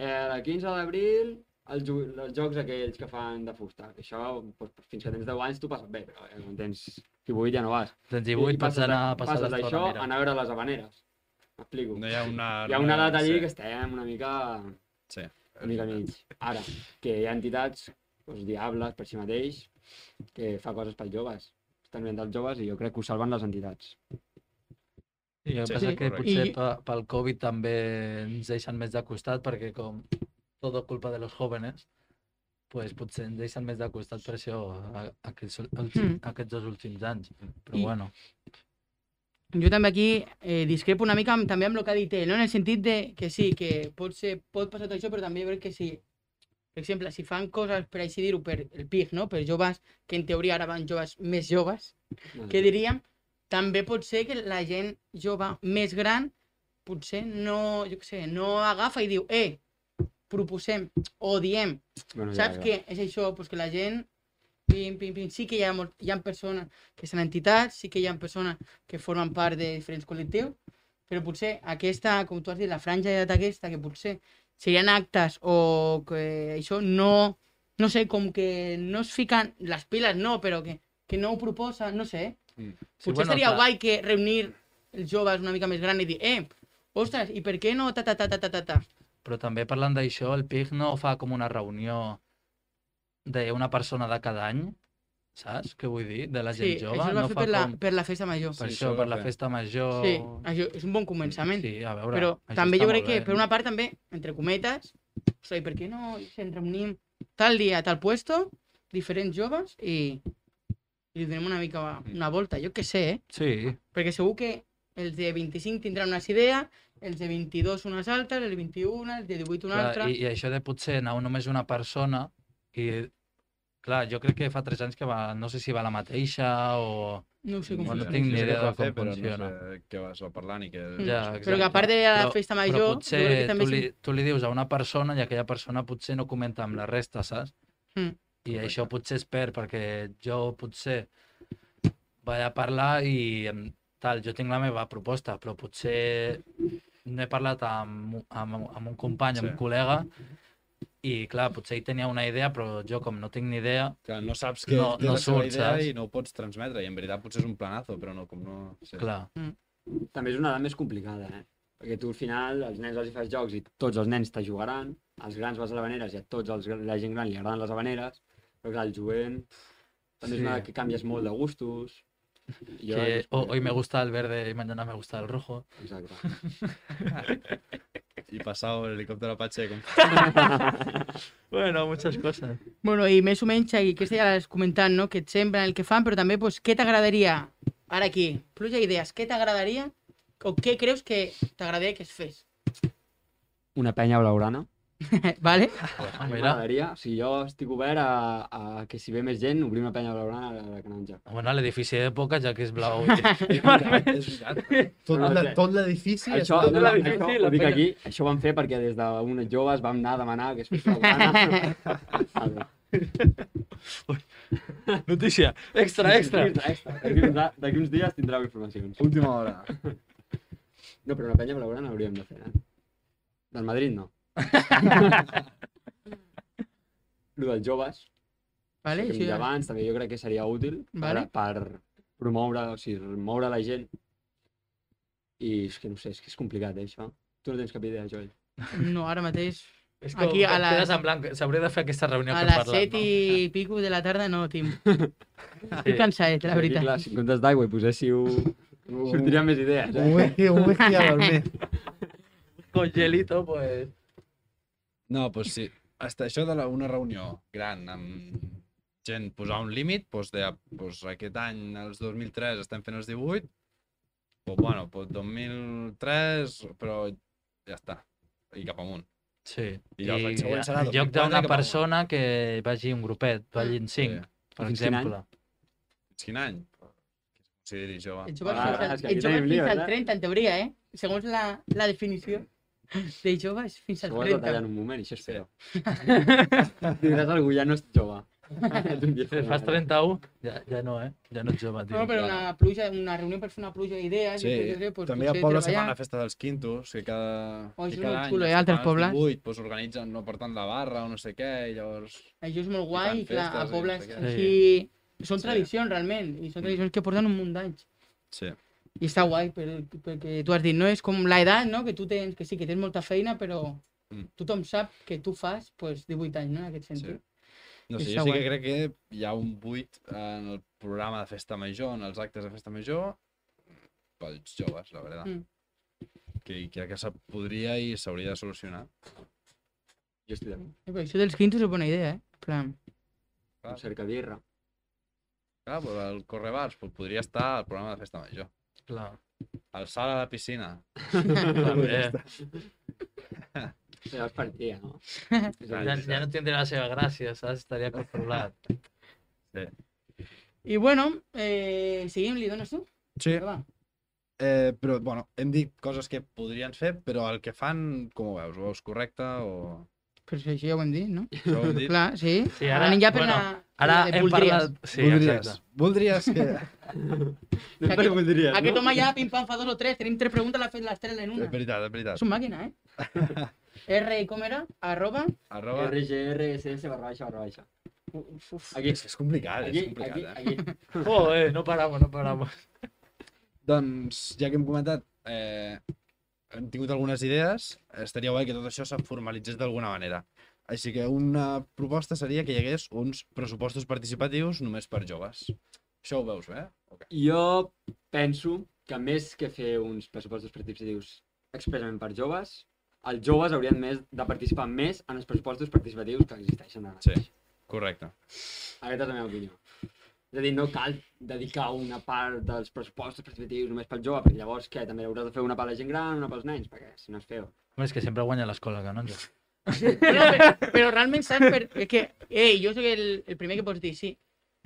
Eh, el 15 d'abril, els, ju- els jocs aquells que fan de fusta. Això, doncs, fins que tens 10 anys t'ho passes bé, però eh, quan tens 18 ja no vas.
Tens 18, pots
passes de-
anar a tota passar
passes
l'estona,
d'això a
mira.
anar a veure les habaneres. M'explico.
No hi ha eh. una...
Hi ha una edat allí
sí.
que estem una mica...
Sí.
Una mica mig. Ara, que hi ha entitats, doncs, diables per si mateix, que fa coses pels joves. Estan venint els joves i jo crec que ho salven les entitats.
Sí, el que
Sí,
passa
sí,
que
correcte.
potser
I-
pe- pel Covid també ens deixen més de costat perquè com tot és culpa de los jóvenes, pues potser ens deixen més de costat per això a- aquests, ulti-
Mm.
aquests dos últims anys. Però
I-
bueno,
Jo també aquí eh, discrepo una mica amb, també amb el que ha dit ell, no? en el sentit de que sí, que pot, ser, pot passar tot això, però també crec que si, per exemple, si fan coses, per així dir-ho, per el PIG, no? per joves, que en teoria ara van joves més joves,
No
que
sé.
diríem, també pot ser que la gent jove més gran potser no, jo què sé, no agafa i diu, eh, proposem o diem
Bueno,
Saps
ja, ja.
què? És això, doncs que la gent... Pim, pim, pim. Sí que hi ha, molt, hi ha persones que són entitats, sí que hi ha persones que formen part de diferents col·lectius, però potser aquesta, com tu has dit, la franja d'edat aquesta, que potser serien actes o que això no... No sé, com que no es fiquen les piles, no, però que, que no ho proposa, no sé. eh?
Mm. sí,
Potser
bueno,
seria
clar,
guai que reunir els joves una mica més gran i dir, eh, ostres, i per què no ta ta ta ta ta ta ta?
però també parlant d'això, el PIG no fa com una reunió d'una persona de cada any, saps què vull dir? De la gent
Sí,
jove,
això es va
no
fer
fa
per la,
com...
per la festa major.
Per
Sí,
això,
això
per
va
la
fer.
festa major...
Sí, això és un bon començament.
Sí, a veure,
Però
això
també
està
jo crec
molt
que,
bé.
per una part, també, entre cometes, ostres, i per què no ens reunim tal dia, a tal puesto, diferents joves, i, i li donem una mica
Mm.
una volta, jo què sé, eh?
Sí,
Perquè segur que els de 25 tindran unes idees, els de 22 unes altres, els de 21, els de 18 una
clar,
altra...
i, i això de potser anar només una persona i... Clar, jo crec que fa tres anys que va... No sé si va la mateixa o...
No ho sé com
Bueno,
funciona.
tinc ni
sé
idea
què es va
de com
fer, però No
funciona.
sé què vas parlant i que...
Ja,
Però que a part de la
Però-
festa major,
Però
Ah, jo crec
potser
que
tu
també...
li,
sí-
tu li dius a una persona i aquella persona potser no comenta amb la resta, saps?
Mm.
I això potser es perd perquè jo potser vaig a parlar i em- tal, jo tinc la meva proposta, però potser no he parlat amb, un- amb, amb un company, amb
Sí.
un col·lega, i clar, potser ell tenia una idea, però jo com no tinc ni idea,
Que no saps que
No-
té
no
la seva
surt,
idea
saps?
i no ho pots transmetre. I en veritat potser és un planazo, però no, com no... Sí.
clar,
També és una edat més complicada, eh? Perquè tu al final, als nens els hi fas jocs i tots els nens te jugaran, als grans vas a habaneres i a tots els, la gent gran li agraden les habaneres, però clar, el jovent també és
Sí.
una edat que canvies molt de gustos. Jo,
que ho- hoy me gusta el verde y mañana me gusta el rojo.
Exacte.
I passar l'helicòpter Apache com...
Bueno, muchas cosas.
Bueno, i més o menys, i aquesta ja l'has comentat, no? Que et semblen el que fan, però també, doncs, què t'agradaria, ara aquí, pluja idees, què t'agradaria o què creus que t'agradaria que es fes?
Una penya blaurana.
vale?
A mi
Mira.
m'agradaria, o sigui, jo estic obert a, a que si ve més gent, obrir una penya blaurana a la canonja.
Bueno, l'edifici d'època, ja que és blau.
És veritat, és veritat.
Tot
No,
la-
clar.
tot l'edifici...
Això,
està-
no, no,
la
això
difícil,
ho
la
dic
penya.
aquí, això ho van fer perquè des d'unes joves vam anar a demanar que es fes blaurana. Vale.
Notícia, extra,
Extra, extra. D'aquí uns, d'aquí uns dies tindreu informacions.
Última hora.
No, però una penya blaurana hauríem de fer, eh? Del Madrid no. Lo dels joves,
Vale?
que hem
Això
dit
ja-
abans, també jo crec que seria útil
Vale.
per, per promoure, o sigui, moure la gent. I és que no sé, és que és complicat, eh, això. Tu no tens cap idea, Joel.
No, ara mateix,
És
Aquí a
em
la-
quedes en blanc. S'hauria de fer aquesta reunió
a
que
les
parlem.
set i pico de la tarda no, Tim.
no?
Estic cansadet, la
Perquè, Clar,
veritat.
si en comptes d'aigua hi poséssiu... Sortirien més idees,
Un
eh?
whisky, un whisky a dormir.
Con gelito, pues...
No, doncs pues sí. Hasta això de la, una reunió gran amb gent, posar un límit, doncs de, doncs aquest any, els 2003, estem fent els 18, o bueno, doncs 2003, però ja està, i cap amunt.
Sí.
I
pues,
llavors l'any següent serà
en lloc
2004
d'una
que va
persona que vagi un grupet, vagin cinc,
Sí.
per
Fins quin
exemple.
Eh, Fins quin any? Consideri jove.
Et joves
Ah,
fins al,
és que aquí
et joves
tenim lío,
fins al
eh?
30, en teoria, eh? Segons la, la definició de joves fins al
Això ho has de
30.
tallar en un moment, i això és feo. Diràs a algú, ja no ets jove.
Si fas 31, ja, ja no, eh? Ja no ets jove, tio.
No, però una pluja, una reunió per fer una pluja d'idees.
Sí,
i tot això, doncs,
també al
potser
poble se
treballar.
fan la festa dels quintos, que cada,
Oh,
que
és
cada
molt xulo, eh,
la
altres
setmana dels
pobles.
18, doncs, organitzen, no porten la barra o no sé què, i llavors...
Això és molt
fan
guai, i clar, a
festes i
pobles
no sé què.
així... Són
Sí. Mm.
tradicions, realment, i són tradicions que porten un munt d'anys.
Sí.
I està guai, per, perquè tu has dit, no és com la edat, no? Que tu tens, que sí, que tens molta feina, però
Mm.
tothom sap que tu fas pues, 18 anys, no? En aquest sentit.
No sé,
Està
jo sí
guai.
que crec que hi ha un buit en el programa de festa major, en els actes de festa major, pels joves, la veritat.
Mm.
Que, que, que se podria i s'hauria de solucionar.
Jo estic d'acord.
Eh, Però això dels quintos és bona idea, eh? En plan,
Un cercabirra.
Clar, però el Correbars pues, podria estar al programa de festa major.
Clar.
El sal a la piscina.
També.
Ja es partia, no?
Ja, ja no tindria la seva gràcia, saps? Estaria controlat.
I bueno, eh, seguim, li dones tu?
Sí,
Va.
eh, però bueno, hem dit coses que podrien fer, però el que fan, com ho veus? Ho veus correcte o...
Però si això ja ho hem dit, no?
Això ho hem dit?
Clar, sí.
Sí,
ara,
ara-
anem ja per
bueno,
la,
Ara
la de
hem
voldries.
parlat... Sí,
voldries,
exacte.
voldries que...
No
Aquest-
et preguntaries,
Aquest
no?
home ja, pim-pam, fa dos o tres. Tenim tres preguntes, l'ha fet les tres en
és
una.
veritat, és veritat.
És un màquina, eh? R, com era? Arroba?
Arroba...
RGRSS barra baixa barra baixa.
Uf, uf.
Aquí,
És que és complicat,
aquí,
és complicat,
aquí,
eh?
aquí.
Oh, eh, no paramos, no paramos.
Doncs, ja que hem comentat, eh, hem tingut algunes idees, estaria guai que tot això se formalitzés d'alguna manera. Així que una proposta seria que hi hagués uns pressupostos participatius només per joves. Això ho veus eh? bé? Okay.
Jo penso que més que fer uns pressupostos participatius expressament per joves, els joves haurien més de participar més en els pressupostos participatius que existeixen ara.
Sí. Correcte.
Aquesta és la meva opinió. És a dir, no cal dedicar una part dels pressupostos participatius només pel jove, perquè llavors què? També hauràs de fer una per la gent gran, una pels nens, perquè si no és feo.
Home, és que sempre guanya l'escola canonja.
Però, però, però realment saps per... És que, ei, jo sóc el, el primer que pots dir, sí.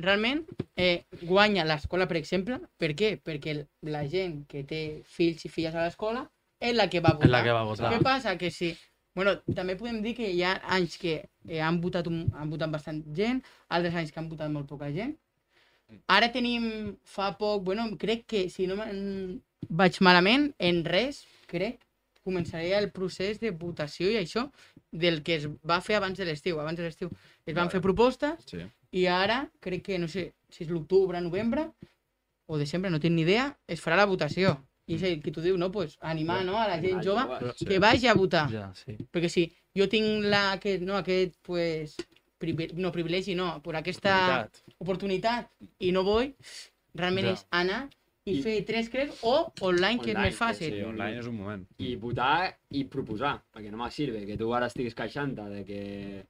Realment eh, guanya l'escola, per exemple. Per què? Perquè el- la gent que té fills i filles a l'escola és la que va votar.
És la que va votar.
Què passa? Que sí. Bueno, també podem dir que hi ha anys que eh, han, votat un, han votat bastant gent, altres anys que han votat molt poca gent. Ara tenim fa poc, bueno, crec que si no me'n vaig malament, en res, crec, començaria el procés de votació i això del que es va fer abans de l'estiu. Abans de l'estiu es van
Vale.
fer propostes
Sí.
i ara crec que, no sé, si és l'octubre, novembre o desembre, no tinc ni idea, es farà la votació. I és el que tu diu, no? Pues animar no? a la gent
Els
jove
joves.
que vagi a votar.
Ja, sí.
Perquè si jo tinc la, aquest, no, aquest pues, privi, no privilegi, no, per aquesta
Veritat.
oportunitat i no vull, realment
Ja.
és anar i,
I-
fer tres, crec, o online, que és
Online,
més fàcil.
Sí, online és un moment.
Mm.
i votar i proposar, perquè no més sirve que tu ara estiguis queixant-te de que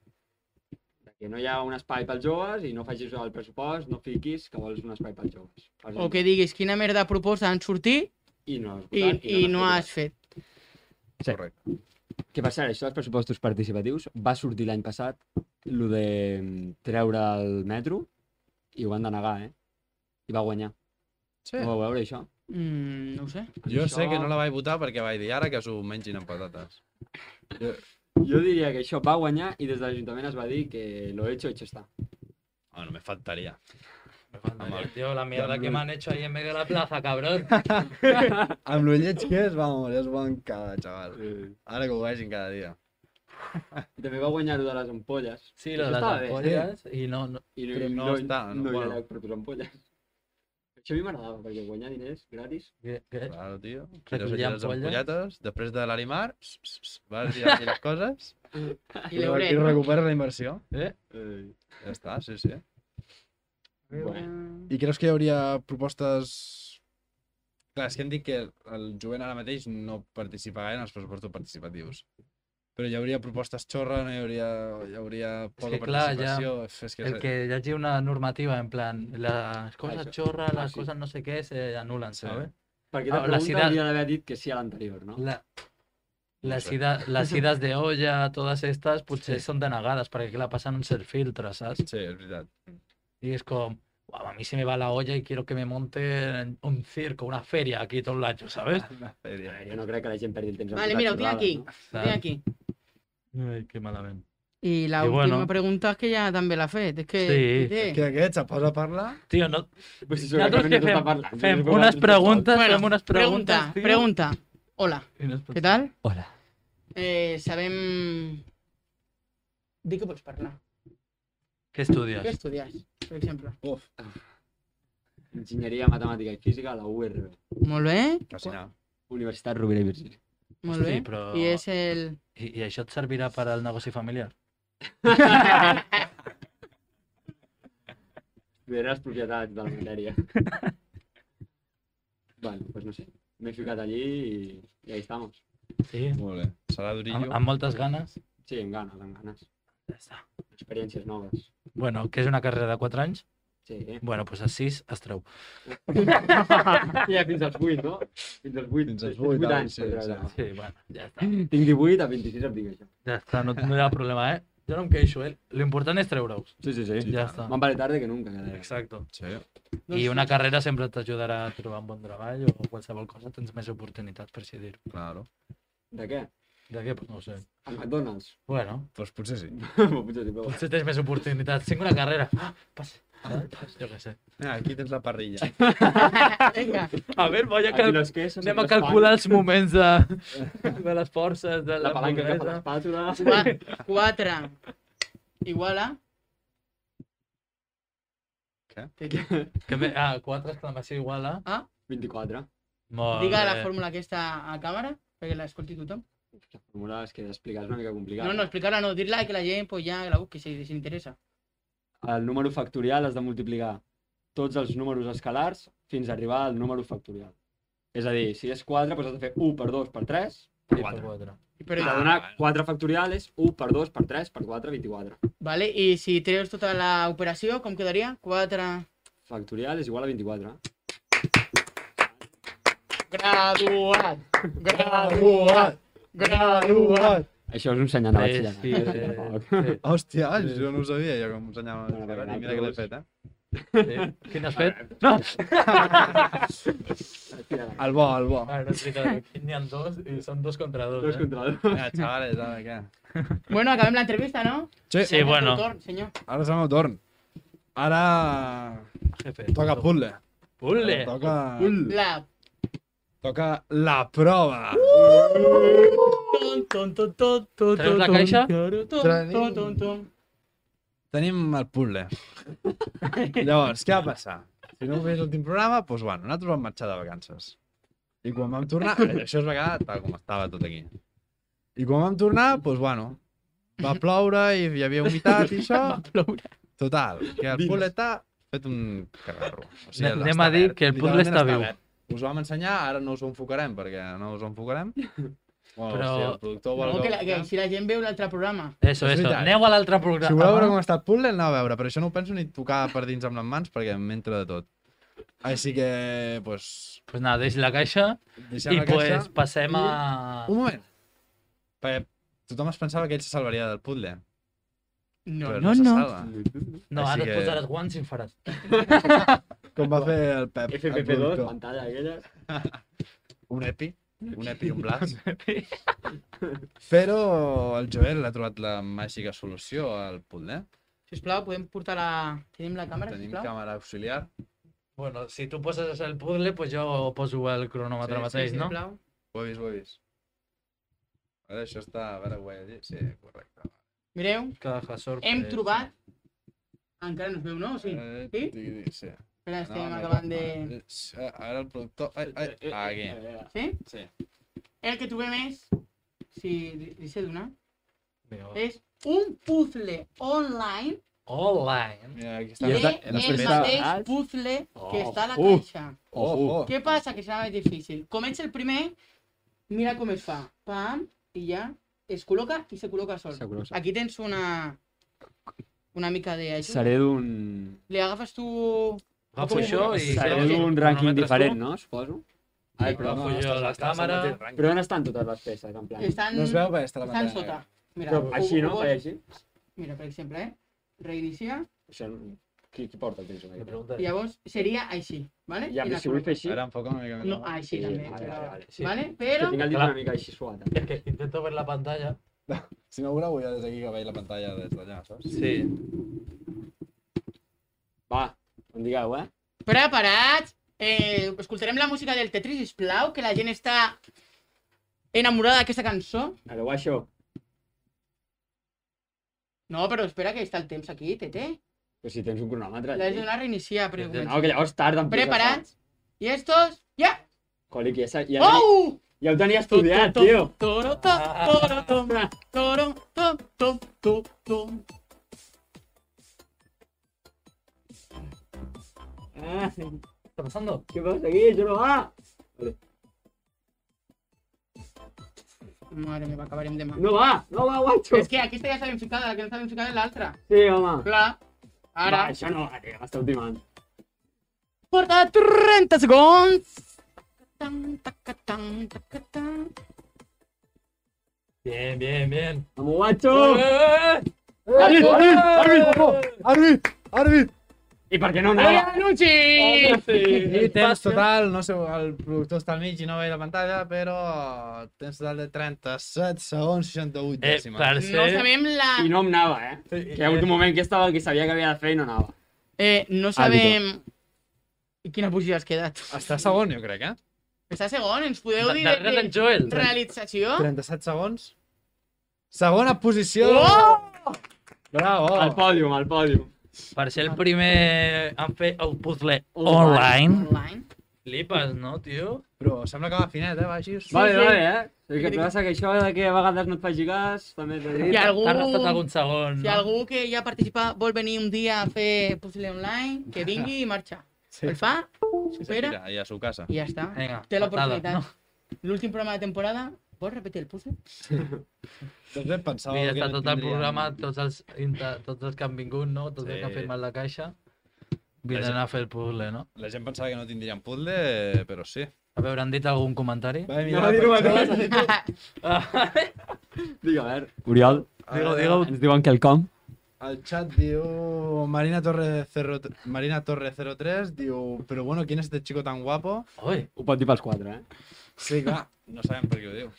de que no hi ha un espai pels joves i no facis el pressupost, no fiquis que vols un espai pels joves. Fas
O que diguis quina merda de proposta han sortit
I no has
i,
votat,
i no
has
has fet.
Sí.
Correcte.
votat. Que per cert, això dels pressupostos participatius va sortir l'any passat, lo de mm, treure el metro, i ho van denegar, eh? I va guanyar.
Sí.
No ho vau veure, això?
Mm, no ho sé.
Jo
Això-
sé que no la vaig votar perquè vaig dir ara que s'ho mengin amb patates.
Jo diria que això va guanyar i des de l'Ajuntament es va dir que lo hecho, hecho está.
Ah, no, me faltaria.
Me faltaría, Tío, la mierda que me han hecho ahí en medio de la plaza, cabrón.
Amb lo lleig que és, vamos, és bon cada, xaval.
Mm.
Eh,
Ara que ho vegin cada dia.
També va guanyar lo de les ampolles.
Sí, lo de
Eso
las
estaba ¿eh? bien.
ampollas
¿eh?
i no, no...
I no,
Però
no,
no
no,
està, no,
no, no hi ha
bueno.
lloc per posar ampolles. Això a mi m'agradava, perquè guanyar diners gratis.
Què- què?
Claro, tio. Tires
Recollir
allà les
ampolles.
ampolletes, després de l'Arimar, s- s- s- vas tirar les coses
Ah, I
i,
l'heuret,
i
no?
recuperes la inversió.
Eh?
Eh,
Ja està, sí, sí.
bueno,
I creus que hi hauria propostes... Clar, és que hem dit que el jovent ara mateix no participa gaire en els pressupostos participatius. Però hi hauria propostes xorra, no hi hauria, hi hauria poca
que clar, ja
participació... és- és que
El que hi hagi una normativa, en plan, les coses
Això.
xorra,
Ah,
les
sí.
coses no sé què, se anulen,
Sí.
¿sabes?
perquè
Ah,
la
la
pregunta
ciudad-
hauria d'haver dit que sí a l'anterior, no?
La... Las,
sé.
idas, las idas de olla, todas estas, potser són denegades, perquè clar, passen un cert filtre, saps?
Sí, és veritat.
Y es como, "Guau, a mí se me va la olla y quiero que me monten un circo, una feria aquí todo el año, ¿sabes?
Una feria.
Jo no crec que la gent perdi el temps. en
Vale,
votar
mira, ho tinc
xorrades,
aquí.
no?
Ve aquí.
Ay, qué malamente.
I la
I
última
bueno.
pregunta és que ja també l'ha fet. És que,
Sí.
té.
Que aquest se posa a parlar...
Tio, no...
Pues si
Nosaltres
segurament
què
no
fem?
està parlant,
Fem
no sé
unes
com-
preguntes,
Bueno,
fem unes preguntes,
Pregunta,
tio.
pregunta. Hola,
I no es pot-
què tal?
Pues, Hola.
Eh, sabem... Di que pots parlar. Què
Què estudies?
estudies, per exemple?
Enginyeria, matemàtica i física a la URB.
Molt bé,
Quasi no.
Universitat Rovira i Virgili.
molt bé.
Sí, però-
I és el...
I, I això et servirà per al negoci familiar?
Estudiaré les propietats de la matèria. bueno, pues no sé. M'he ficat allí i, i ahí estamos.
Sí?
Molt bé. Serà
Amb,
durillo.
amb moltes ganes?
Sí, amb ganes, amb ganes.
Ja està.
Experiències noves.
Bueno, que és una carrera de 4 anys?
Sí, eh?
Bueno, doncs a 6 es treu.
ja fins als 8, no? Fins als 8.
Fins als vuit, ara,
anys.
sí,
per
sí.
treure.
Sí, bueno, ja està.
Tinc 18, a 26 em dic això.
Ja està, no, no hi ha problema, eh? Jo no em queixo, eh? L'important és treure-us.
Sí, sí, sí.
Ja està.
Van vale tarde que nunca, cada vegada.
Exacte.
Sí.
I una carrera sempre t'ajudarà a trobar un bon treball o qualsevol cosa, tens més oportunitats, per així dir-ho.
Claro.
De què?
De què? Pues no ho sé.
Al McDonald's.
Bueno,
Doncs potser sí.
Potser sí, però...
potser tens més oportunitats. Tinc una carrera. Ah, passa. Jo què sé.
Ah, aquí tens la parrilla.
Vinga,
A veure, voy a
Aquí
cal...
les queses,
anem a
les
calcular els moments de, de les forces, de
pan, La palanca cap a
l'hamburguesa.
l'espàtula...
qua- quatre. Igual a...
Què?
Que bé, ah, quatre exclamació igual a...
24.
Molt
Diga la
bé.
fórmula aquesta a càmera, perquè l'escolti tothom.
La fórmula és que d'explicar és una mica complicat.
No, no, explicar-la no, dir-la i que la gent pues, ja la busqui si si interessa.
El número factorial has de multiplicar tots els números escalars fins a arribar al número factorial. És a dir, si és 4, doncs has de fer 1 per 2 per 3, per
Sí, per
4.
quatre.
Però,
I de donar 4 factorials, 1 per 2 per 3 per 4, 24.
Vale, I si treus tota l'operació, com quedaria? 4...
Factorial és igual a 24.
Graduat!
Graduat! Graduat!
Això és un senyal de
Sí, sí,
eh, batxillerat.
sí, sí.
Hòstia, jo no ho sabia, jo com ensenyava.
No, no, perquè
I mira que l'he fet, eh?
Sí. Quin has fet? No!
El bo, el bo.
Ah, no és veritat, aquí n'hi ha dos i són dos contra dos,
Dos
eh?
contra dos.
Vinga, xavales, ara, què?
Bueno, acabem l'entrevista, no?
Sí,
Sí, bueno.
Tu Torn, senyor.
ara és el meu torn. Ara...
Jefe.
Toca puzzle.
Pule!
Toca...
La...
Toca la prova.
Ton, ton, ton, ton, ton,
Treus la
ton,
caixa?
ton, ton, ton, ton, ton.
Tenim el puzzle. Llavors, què va passar? Si no ho veus l'últim programa, doncs bueno, nosaltres vam marxar de vacances. I quan vam tornar, això es va quedar tal com estava tot aquí. I quan vam tornar, doncs bueno, va ploure i hi havia humitat i això.
ploure.
Total, que el puzzle està fet un cagarro. O
Anem
està
a dir
verd,
que el puzzle
literalment
està viu.
verd. Us ho vam ensenyar, ara no us ho enfocarem, perquè no us ho enfocarem. Bueno, Però...
Però-
si el productor vol...
No, que, la,
ho
que
enfoquem.
si la gent veu l'altre programa.
Eso,
És
eso.
veritat.
Aneu a l'altre programa.
Pues Si voleu veure com està el puzzle, aneu a veure, però això no ho penso ni tocar per dins amb les mans perquè m'entra de tot. Així que, doncs,
Pues nada, deixi la caixa
deixem
i
la
pues
caixa.
passem a...
Un moment! Perquè tothom es pensava que ell se salvaria del puzzle.
No,
però
no,
se
no.
salva.
No,
Així
ara et
que-
posaràs guants i en faràs.
Com va fer el Pep. el
FPP2,
productor.
pantalla aquella.
Un epi. Un epi, un blast. Però el Joel ha trobat la màgica solució al puzzle.
Sisplau, podem portar la... Tenim la càmera,
Tenim
sisplau?
càmera auxiliar.
Bueno, si tu poses el puzzle, pues jo poso el cronòmetre
Sí, sí,
mateix, no?
Sisplau.
Ho he vist, ho he vist. A veure, això està... A veure, ho he dit. Sí, correcte.
Mireu,
Caja eh, sorpresa.
hem trobat... Encara no es veu, no? Sí.
Eh,
Sí?
digui, sí.
Espera, estem
no,
acabant de...
no, eh, A veure el productor... Ai,
Eh,
ai,
ah,
aquí.
Sí?
Sí.
El que trobem és... Si li- li sé donar...
Mira,
És un puzzle online
Online.
Mira, aquí està.
de
està-
el
després
mateix
està- Alts.
puzzle que
Oh,
està a la
uh.
caixa.
Oh, oh.
Què passa? Que serà més difícil. Comença el primer, mira com es fa. Pam, i ja es col·loca i se col·loca sol.
Segur, segur.
Aquí tens una... Una mica d'ajuda.
Seré d'un...
Li agafes tu...
Agafo
Sí,
això i...
Seré
sí,
d'un
cronòmetres
rànquing
tu.
diferent, no? Suposo. Ai, però,
Agafo
no,
jo la càmera.
però on estan totes les peces, en plan?
Estan,
No es veu, perquè està la
estan
pantalla.
sota. Mira,
Però
ho-
així,
ho
no?
pots-
Feia així?
Mira, per exemple, eh? Reiniciar.
Això, no- qui, qui porta el temps?
Li
aquí?
preguntaré.
Llavors seria així, vale?
Ja,
I
però
la
si vull
col·loca.
fer així,
Ara enfoca una mica més.
No, així
Sí,
també.
vale,
però-
vale, vale,
sí.
Vale?
que
Però...
tinc el dit
Clar.
una mica així suat. eh?
És que intento ver la pantalla
Si no ho gravo ja des d'aquí que veig la pantalla des d'allà, saps?
Sí.
Va, em digueu, eh?
Preparats? Eh, escoltarem la música del Tetris, sisplau, que la gent està enamorada d'aquesta cançó.
Ara ho això.
No, però espera que està el temps aquí, Tete.
Però si tens un cronòmetre.
L'has de
tio.
donar a reiniciar, però...
No, que llavors tarda en posar-se.
Preparats? I estos? Ja!
Còlic, ja, sa- ja,
Oh!
ja ho tenia estudiat,
Tom,
tio.
Toro, tom, toro, tom, toro, tom, tom, tom, tom.
Ah,
Està passant?
què passa aquí? Això no va.
Madre meva, acabarem demà.
No va, no va, guatxo.
És que aquesta ja se l'hem ficada, la que no se l'hem ficada és l'altra.
Sí, home.
Clar. Ara.
Va, això no va, tio, m'esteu timant.
Porta 30 segons. Tan, tacatan, tacatan.
Bien, bien, bien.
Vamos, guatxo.
Àrbit, àrbit, àrbit, àrbit, àrbit.
I per què no
Ai,
anava?
anunci!
I temps total, no sé, el productor està al mig i no veig la pantalla, però temps total de 37 segons
Eh,
68 dècimes.
per
No
ser...
sabem la...
I no em anava, eh? Que hi ha hagut un moment que estava que sabia que havia de fer i no anava.
Eh, no sabem... I quina posició has quedat?
Està segon, jo crec, eh?
Està segon, ens podeu dir de,
Darrere d'en
de
Joel.
realització?
37 segons. Segona posició.
Oh!
Bravo.
Al pòdium, al pòdium.
Per ser el primer en fer el puzzle
Online.
online.
Online.
Flipes, no, tio?
Però sembla que va finet, eh? Va així.
Vale,
sí.
vale, eh? El que passa que això de que a vegades no et faci gas, també t'he dit.
Si algú,
T'ha restat algun segon,
si
no?
algú que ja participa vol venir un dia a fer puzzle online, que vingui i marxa.
Sí.
El fa,
Sí,
supera
Mira, allà a su casa.
i ja està.
Vinga,
Té
patada.
l'oportunitat. L'últim programa de temporada, vols repetir el puzzle?
Doncs bé, pensava
I ja està
no
tot el
tindríem-
programa, tots els, inter- tots els que han vingut, no? Tots els que han
Sí.
firmat la caixa, vindran a fer el puzzle, no?
La gent pensava que no tindríem puzzle, però sí.
A veure, han dit algun comentari?
Va,
No, dir-ho
per-
mateix. Digue, a veure. Oriol,
Digue-ho, digue-ho.
ens diuen quelcom.
El chat diu... Marina Torre, 0, Marina Torre 03 diu... Però bueno, ¿quién es este chico tan guapo?
Ui,
Ho pot dir pels quatre, eh?
Sí, clar.
No sabem per què ho diu.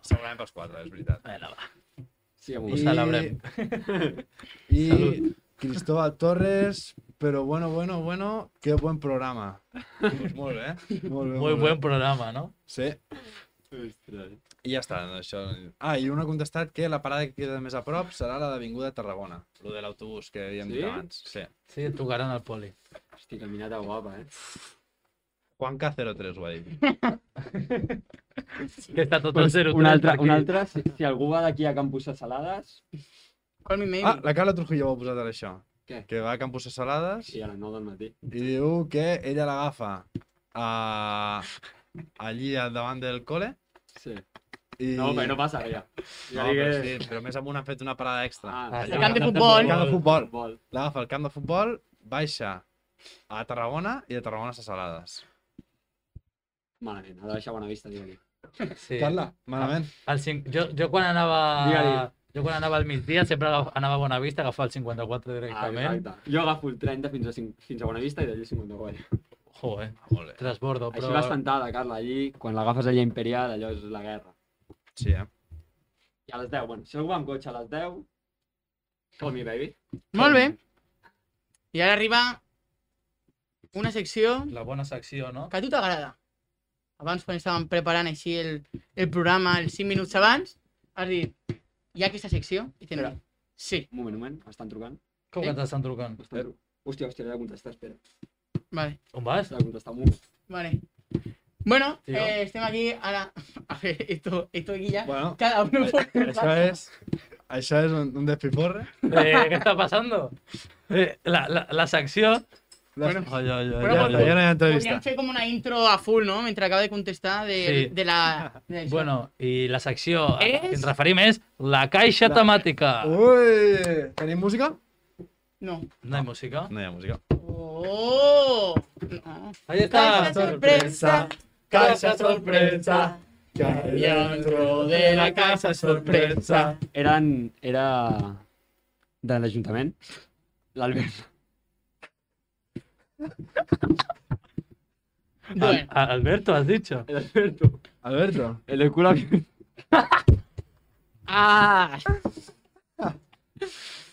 Segurament pels quatre, és veritat.
bueno, va.
Sí,
Ho celebrem.
I
Salud.
Cristóbal Torres... Pero bueno, bueno, bueno, qué buen programa.
Doncs molt bé.
Molt
Muy
bé, molt bé.
buen programa, no?
Sí.
Ostres.
I ja està, no, això...
Ah, i un ha contestat que la parada que queda més a prop serà la d'Avinguda Tarragona.
Lo de l'autobús que havíem
Sí?
dit abans. Sí.
Sí, tocaran al poli.
Hosti, caminata guapa, eh?
Juanca03 ho ha dit.
Que està tot el 0
Pues, un altre, un altre, si, si algú va d'aquí a Campus de Salades,
Call me maybe.
Ah, la Carla Trujillo ho ha posat ara això.
Què?
Que va a Campos de Salades
sí, a les 9 del matí.
i diu que ella l'agafa a... allí al davant del col·le
Sí.
i...
No, però no passa res, ja.
No, però,
Ja digues...
sí, però a més amunt han fet una parada extra.
Ah,
El
sí.
camp de futbol.
Al camp de futbol.
Futbol.
L'agafa al camp de futbol, baixa a Tarragona i de Tarragona a Ses Salades.
Malament, ha de deixar bona vista, digue-li. Ah,
Sí.
Carla, malament.
El cinc... jo, jo quan anava...
Digue-li.
Jo quan anava al migdia sempre agaf- anava a Bona Vista, agafava el 54
Ah,
directament.
exacte. Jo agafo el 30 fins a, 5, fins a bona vista i d'allí 54.
Joder,
Ah,
Molt bé.
transbordo,
Així
però...
vas sentada, Carla, allí, quan l'agafes allà a imperial, allò és la guerra.
Sí, eh?
I a les 10, bueno, si algú va amb cotxe a les 10, call me baby.
Molt bé. I ara arriba una secció
La bona secció, no?
que a tu t'agrada. Abans, quan estàvem preparant així el, el programa, els 5 minuts abans, has dit, hi ha aquesta secció? I tenen...
Espera.
Sí,
Un moment, un moment, m'estan trucant.
Com que ens estan trucant?
M'estan trucant. Hòstia, hòstia, l'he de contestar, espera.
vale.
On vas?
L'he de contestar un moment.
Vale. Bueno,
Tío.
eh, estem aquí ara. A ver, esto, esto aquí ya.
Bueno,
Cada uno por su
això
lado.
és... Això és un, un despiporre.
Eh, què està passant? Eh, la, la, la secció...
Bueno,
Ai, ai, ai,
Bueno,
ja,
ai, ai.
ja, no hi ha
Podríem
entrevista.
fer com una intro a full, ¿no? Mentre acaba de contestar de,
Sí.
de la... de això.
Bueno, i la secció a la que
És-
ens referim és la caixa
La- Oh.
temàtica.
Ui! Tenim música?
No.
No hi ha música?
No hi ha música.
Oh! No.
Ahí
Caixa
està!
sorpresa,
Caixa sorpresa,
dentro de la casa sorpresa.
Eren... Era... De l'Ajuntament. L'Albert.
Bueno,
A- Alberto, has dicho?
L'Alberto.
Alberto.
El de cul abierto.
Ah!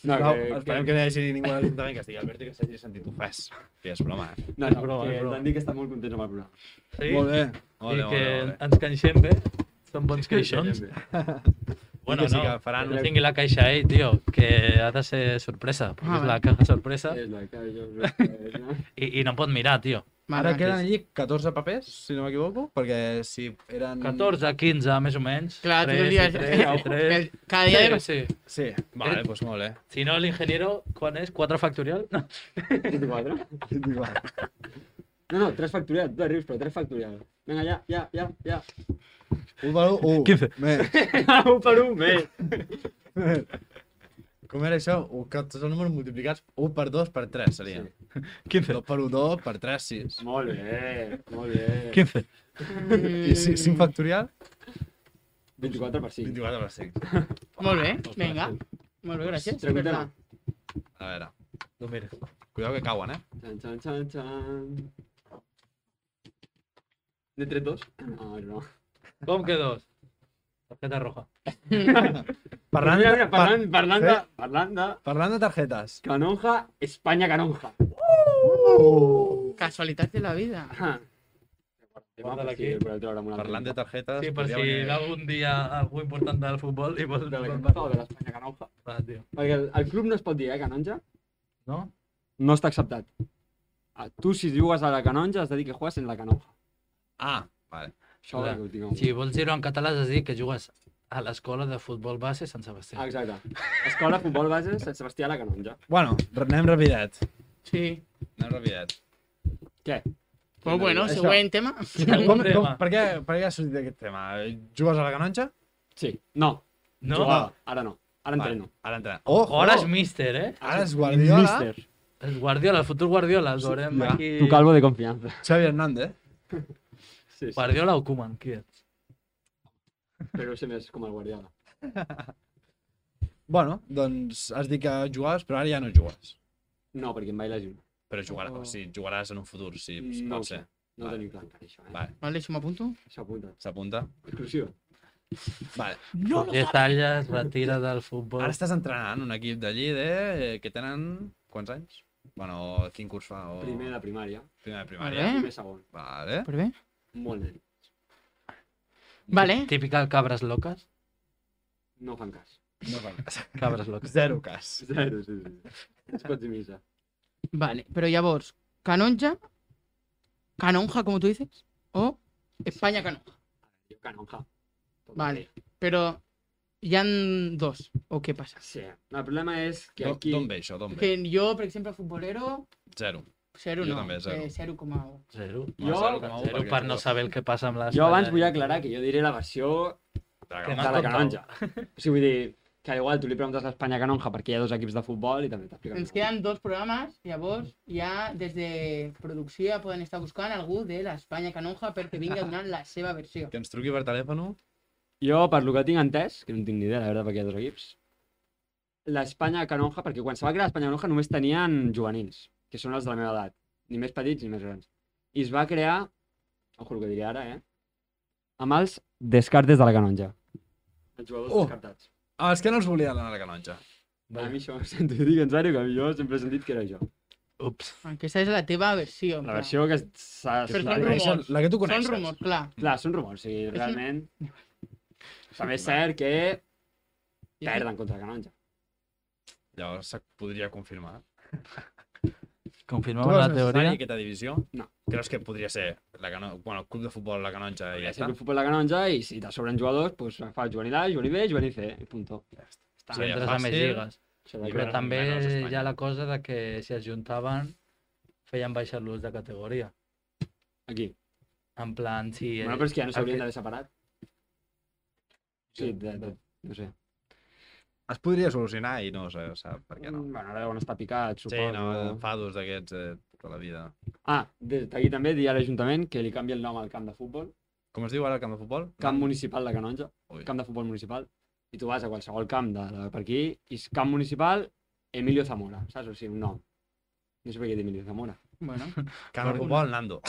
No,
No,
que,
esperem que no hi hagi ningú a l'Ajuntament que estigui al Berti que s'hagi sentit ofès. Que és broma, eh?
No,
És
no,
broma,
que
és broma.
t'han dit que està molt content amb el programa.
Sí?
Molt bé.
I
Ole,
que
ole, ole.
ens canxem bé. Doncs Són bons caixons. Bueno,
que sí,
no,
que faran
no
un-
tingui la caixa ell, tio, que ha de ser sorpresa.
Ah,
Perquè és
vale.
la caja sorpresa
És la que jo... no?
i, i no pot mirar, tio.
Vale,
Ara
vale.
queden allí 14 papers, si no m'equivoco, perquè si eren...
14, 15, més o menys.
Clar,
tres,
todo el día.
i tres, i tres.
el- cada día de-
eh. Sí, sí.
Sí, vale, doncs pues molt bé.
Si no, l'ingeniero, quan és? 4 factorial? No.
24? No, no, tres factorials, dos rius, però tres factorials. Vinga, ja, ja, ja, ja.
1 per 1, 1.
15.
Bé.
un per un, bé.
Com era això? Un, que tots els números multiplicats 1 per 2 per 3 serien. Sí.
15.
2 per 1, 2 per 3, 6.
Molt bé, molt bé.
15.
I
Mm,
5 factorial?
24 per 5.
24 per 5.
Molt bé, vinga. Molt bé, gràcies.
Treu un
per
tema.
la-
A veure,
No, mira.
cuidao que cauen, eh?
Chan, chan, chan, chan. ¿De 3-2? No, no.
Com que dos? Tarjeta roja.
Parlant,
mira,
de-
mira,
par-
parlant, parlant,
¿Eh?
de, parlant de
parlant de targetes.
Canonja, Espanya Canonja. Uh!
Casualitat de la vida.
Guarda-la aquí.
Parlant de targetes...
Sí, per
podria
si
venir
va algun dia algú important del futbol i vol...
de la
vol-
Canonja o de l'Espanya Canonja.
Va, tio.
Perquè el, el club no es pot dir, eh, Canonja?
No?
No està acceptat. Ah, tu, si jugues a la Canonja, has de dir que jugues en la Canonja.
Ah, vale.
Això
Clar.
que ho tinc. en
Si vols dir-ho en català, has de dir que jugues a l'escola de futbol base Sant
compte.
Sebastià.
Exacte. Escola de futbol base, Sant Sebastià a la Canonja.
Bueno, anem rapidet.
Sí.
Anem rapidet.
Què?
Pues bueno,
Això.
següent tema.
Algun
Com, com,
tema?
per, què, per què ha sortit aquest tema? Jugues a la canonja?
Sí. No.
No?
Jugava. Ara no. Ara entreno.
Ara entra. Oh,
Ara és míster, eh?
Ara és Guardiola.
Mister.
El Guardiola, el futur Guardiola, el veurem
Ja.
aquí...
Tu calvo de confiança.
Xavi Hernández.
Sí, sí.
Guardiola o Koeman, qui ets?
Però sé més com el Guardiola.
Bueno, doncs has dit que jugaves, però ara ja no jugues.
No, perquè em vaig lesionar.
Però jugaràs,
Oh.
o sigui, jugaràs en un futur, si si
No ho
pot
sé.
ser.
No
Vale.
vale. teniu clar encara això, eh?
Vale.
Vale, això m'apunto.
Això apunta.
S'apunta.
Exclusiva.
Vale.
No
Roger Salles retira del futbol.
Ara estàs entrenant un equip d'allí de... eh, que tenen... quants anys? Bueno, quin curs fa? O...
Primer de primària.
Primer de primària.
Vale,
Primer segon.
Vale.
per bé.
Molt nen.
Vale.
Típica cabres loques.
No fan cas.
No fa cas.
Cabres loques.
Zero cas.
Zero, sí, sí. És pots dir missa.
Vale, pero ya vos, Canonja, Canonja, como tú dices, o España Canonja.
Jo canonja. Tot
Vale, pero ya han dos, ¿o qué pasa?
bé. Sí. No, el problema és que
No,
aquí...
D'on ve això? D'on ve?
Que yo, por ejemplo, futbolero,
Zero.
cero
Yo
no,
también, cero.
eh, cero como...
Zero.
Jo-
zero coma un,
Zero
perquè
per no
jugues.
saber el que passa amb les...
Jo abans vull aclarar que jo diré la versió
Que
de
m'han
la
contat.
canonja. O sigui, vull dir que igual tu li preguntes a l'Espanya canonja perquè hi ha dos equips de futbol i també t'expliquen.
Nos quedan dos programas, ya vos, ya desde producción pueden estar buscando algo de la España Canonja perquè vinga a donar la seva versió.
Que ens truqui per telèfon.
Jo, per lo que tinc entès, que no en tinc ni idea, la veritat, perquè hi ha dos equips, l'Espanya Canonja, perquè quan se va crear l'Espanya Canonja només tenien juvenils, que són els de la meva edat, ni més petits ni més grans. I es va crear, ojo el que diré ara, eh? Amb els descartes de la Canonja. Els jugadors
Oh!
descartats.
Ah, és que no els volia anar a la canonja. Ah.
A mi això ho sento dir en sèrio, que jo sempre he sentit que era jo.
Ups.
Aquesta és la teva versió. en plan.
La versió que s'ha...
Però
s'ha-
són rumors.
La que tu
Són
coneixes.
rumors, clar.
Clar, són rumors, o sigui,
una-
realment... També és cert que perden contra la Canonja.
Llavors se podria confirmar.
Confirmem la teoria.
aquesta divisió?
No.
Creus que podria ser la cano... bueno, el club de futbol la canonja i
Ja
ja
sé
està?
que fútbol la canonja i si te sobren jugadors, pues fa el juvenil A, el juvenil B, el juvenil C, i punto.
està.
Si entres a més lligues.
Això
I
de
Però
que-
veure
també
menos Espanya.
hi ha la cosa de que si es juntaven feien baixar l'ús de categoria.
Aquí.
En plan, si...
Bueno, però és que ja no s'haurien
el
d'haver separat. Sí, de, de, no sé.
Es podria solucionar i no sé, sap per què no.
Mm, Bueno, ara deuen estar picats,
Sí,
suposo.
no, enfados d'aquests eh, tota la vida.
Ah, des d'aquí també dir a l'Ajuntament que li canvi el nom al camp de futbol.
Com es diu ara el camp de futbol?
Camp municipal de Canonja.
Ui.
Camp de futbol municipal. I tu vas a qualsevol camp de, de per aquí i és camp municipal Emilio Zamora, saps? O sigui, un nom. No sé per què dir Emilio Zamora.
Bueno,
Camp de futbol, Nando.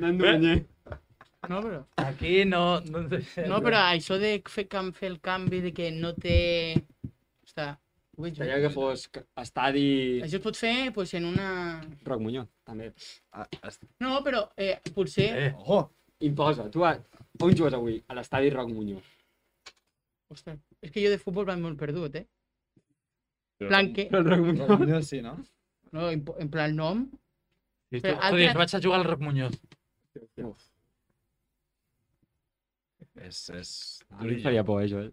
Nando Mañé.
No, però...
Aquí no... no, deixem.
No, però això de fer, cam- fer el canvi de que no té... Està... Ho veig
Seria
bé.
que fos c- estadi
Això es pot fer pues, en una...
Roc Muñoz, també.
Ah, est...
No, però eh, potser...
Eh,
Ojo!
Imposa, tu a... on jugues avui? A l'estadi Roc Muñoz.
Ostres, és que jo de futbol vaig molt perdut, eh? En plan, que...
El Roc Muñoz.
Potser sí, no?
No, en, en plan nom...
i tu,
Però altre-
joder, vaig a jugar al Roc Muñoz.
És, és...
A mi em faria por, això, eh?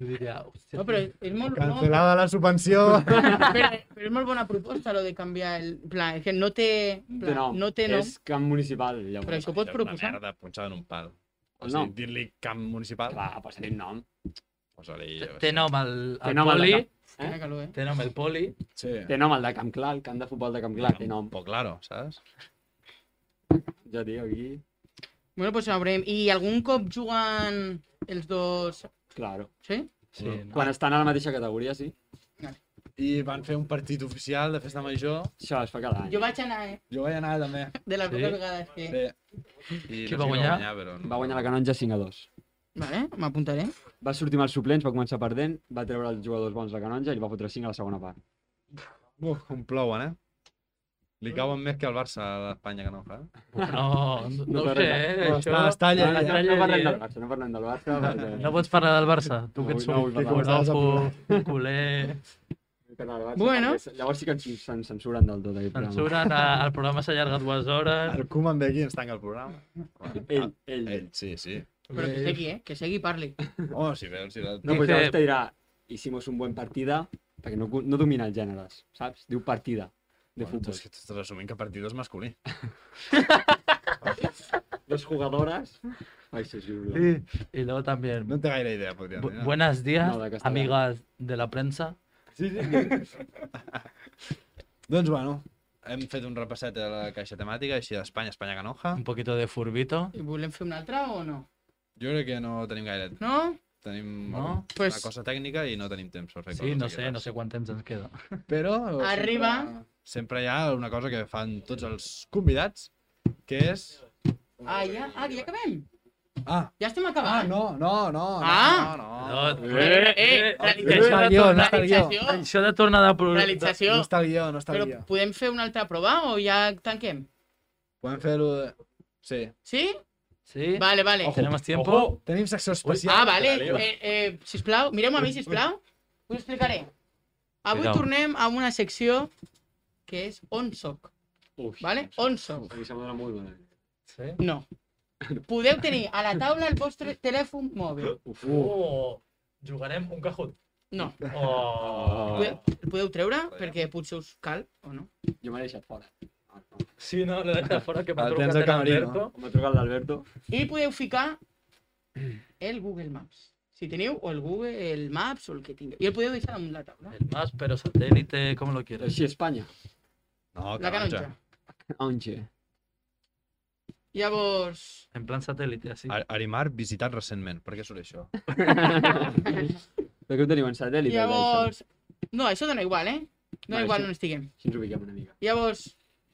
Jo diria, hòstia,
No, però és, és molt... No,
Cancelada la subvenció!
espera, però és molt bona proposta, lo de canviar el... En plan, és que no té... en
Té
Plan,
nom.
no té nom,
És camp municipal,
però
llavors.
això ho pots proposar.
Una merda punxada en un pal. O
El
sigui,
nom.
dir-li camp municipal.
Clar, posa-li un nom.
Posa-li...
té- té nom el,
Té
el
nom al de
poli,
cap.
Quina calor, eh?
té nom el poli,
Sí.
Té nom el de Camp Clar, el camp de futbol de Camp Clar, té nom.
Un poc claro, saps?
Jo, tio, aquí...
Bueno, pues sabrem. I algun cop juguen els dos...
Claro.
Sí?
sí, no.
Quan estan a la mateixa categoria, sí.
I van fer un partit oficial de festa major.
Això es fa cada any.
Jo vaig anar, eh?
Jo vaig anar també.
De les
Sí?
poques vegades que...
Bé. I
Qui va guanyar?
però no.
Va guanyar la Canonja 5 a 2.
Vale, m'apuntaré.
Va sortir amb els suplents, va començar perdent, va treure els jugadors bons de Canonja i li va fotre 5 a la segona part.
Uf, com plouen, eh? Li cauen més que al Barça a l'Espanya que no fa.
No, no, no ho sé,
parlem.
eh,
Però
això...
està- està allà,
no,
allà.
no, no parlem del
eh?
Barça, no parlem del Barça. perquè-
No pots parlar del Barça, tu
No
que ets
vull- no vull
un
parlar
del Barça,
guapo, un culer...
vull parlar del Barça,
Bueno.
perquè Llavors sí que ens se'n censuren del tot. Aquest programa.
Censuren, eh, el programa s'allarga dues hores...
El Koeman ve aquí i ens tanca el programa. Ah,
Ell, ell.
Ell, sí, sí.
Però que segui, eh? Que segui i parli.
Oh, si veus, si veus.
No,
Dice-
pues llavors te dirà, hicimos un buen partida, perquè no, no domina els gèneres, saps? Diu partida de
Bueno,
futbol.
és que estàs assumint que partit és masculí.
Dos jugadores... Ai, això és horrible.
Sí. I luego també...
No té gaire idea, podríem
Bu-
dir. No?
Buenos días,
No, de castellà.
amigas de la premsa.
Sí, sí. doncs, bueno, hem fet un repasset de la caixa temàtica, així d'Espanya, Espanya Canoja.
Un poquito de furbito.
I volem fer una altra o no?
Jo crec que no tenim gaire...
No?
Tenim
No?
no?
Pues-
una cosa tècnica i no tenim temps per fer
Sí,
coses.
no
aquí
sé,
res.
no sé quant temps ens queda.
Però... Ah,
Arriba.
Sempre, sempre hi ha una cosa que fan tots els convidats, que és...
Ah, ja, ah, que ja acabem?
Ah,
Ja estem
ah
acabant?
no, no, no,
Ah!
no, no, no.
No,
Eh, eh,
això de
realització,
tornar-
no està el guió.
realització,
Això de tornar de... pro- de-
realització.
No està el guió, no està el
Però
guió.
podem fer una altra prova o ja tanquem?
Podem fer-ho... De... Sí.
Sí?
Sí?
Vale, vale.
Tenemos tiempo?
Ojo, tenim secció especial.
Ah, vale. Eh, eh, sisplau, mireu-me a mi, sisplau. Us ho explicaré. Avui
Cuidao.
tornem a una secció que és on soc,
Uf,
vale? On soc.
A mi sembla molt bona.
Sí?
No. Podeu tenir a la taula el vostre telèfon mòbil.
Uf,
Oh, jugarem un cajut.
No.
Oh.
Podeu, el podeu treure perquè potser us cal o no.
jo m'he deixat fora. Ah, no.
Sí, no, l'he deixat fora, que m'ha
El tens
trucat
al
en
camerino.
Alberto.
M'ha trucat l'Alberto.
I podeu ficar el Google Maps. Si teniu o el Google, el Maps o el que tingueu. I el podeu deixar damunt la taula.
El más, pero satélite, ¿cómo lo quieres?
Així, Espanya.
No,
La canonja.
Onge.
Llavors,
En plan satélite, así.
Ar- Arimar visitat recentment. Per què surt això?
Però que ho teniu en satèl·lit?
llavors... No, això dona igual, eh? Dona
Vale,
igual
sí.
on estiguem.
Així ens ubiquem una mica.
Llavors,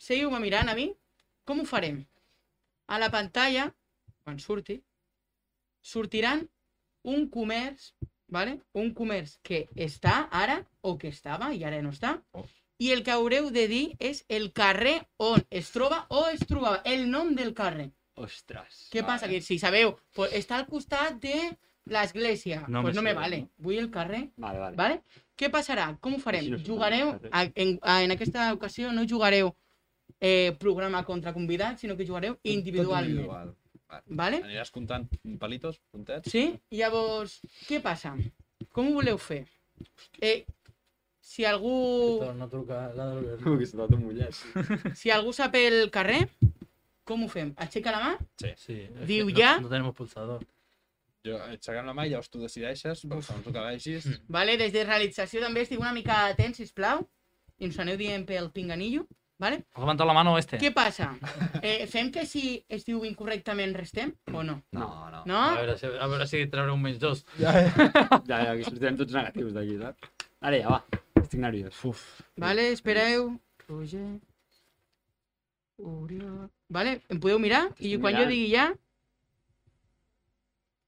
seguiu-me mirant a mi. Com ho farem? A la pantalla, quan surti, sortiran un comerç, vale? un comerç que està ara o que estava i ara no està,
Oh.
i el que haureu de dir és el carrer on es troba o es trobava, el nom del carrer.
Ostres.
Què passa? Que si sabeu, pues, està al costat de l'església,
No
no pues
me
no me
sé.
vale. Vull el carrer
Vale, vale.
Vale? Què passarà? Com ho farem?
Així no es fa,
jugareu,
carrer.
a, en, a, en aquesta ocasió no jugareu eh, programa contra convidat, sinó que jugareu individualment.
Tot individual.
Vale?
Aniràs comptant palitos, puntets?
Sí? Llavors, què passa? Com ho voleu fer? Eh, si algú,
No truca la de Alberto.
Com que s'ha tot mullat.
si algú sap el carrer, com ho fem? Aixeca la mà?
Sí. es que
Diu
no-
ya.
No tenemos pulsador.
Jo, aixecant la mà i llavors tu decideixes, però segons el que vegis...
Vale? Des de realització també estic una mica atent, sisplau. I ens aneu dient pel pinganillo. Vale?
¿Has levantado la mano este?
Què passa? Eh, fem que si es diu incorrectament restem o no?
No, eh. no.
No?
A veure, si, a veure si trauré un menys dos.
Ja, ja, que sortirem tots negatius d'aquí, saps? Ara ja, va. Estic nerviós. Uf.
Vale, espereu. Roger. Oriol... Vale? Em podeu mirar i
T'estic
quan jo
mirant.
digui ja...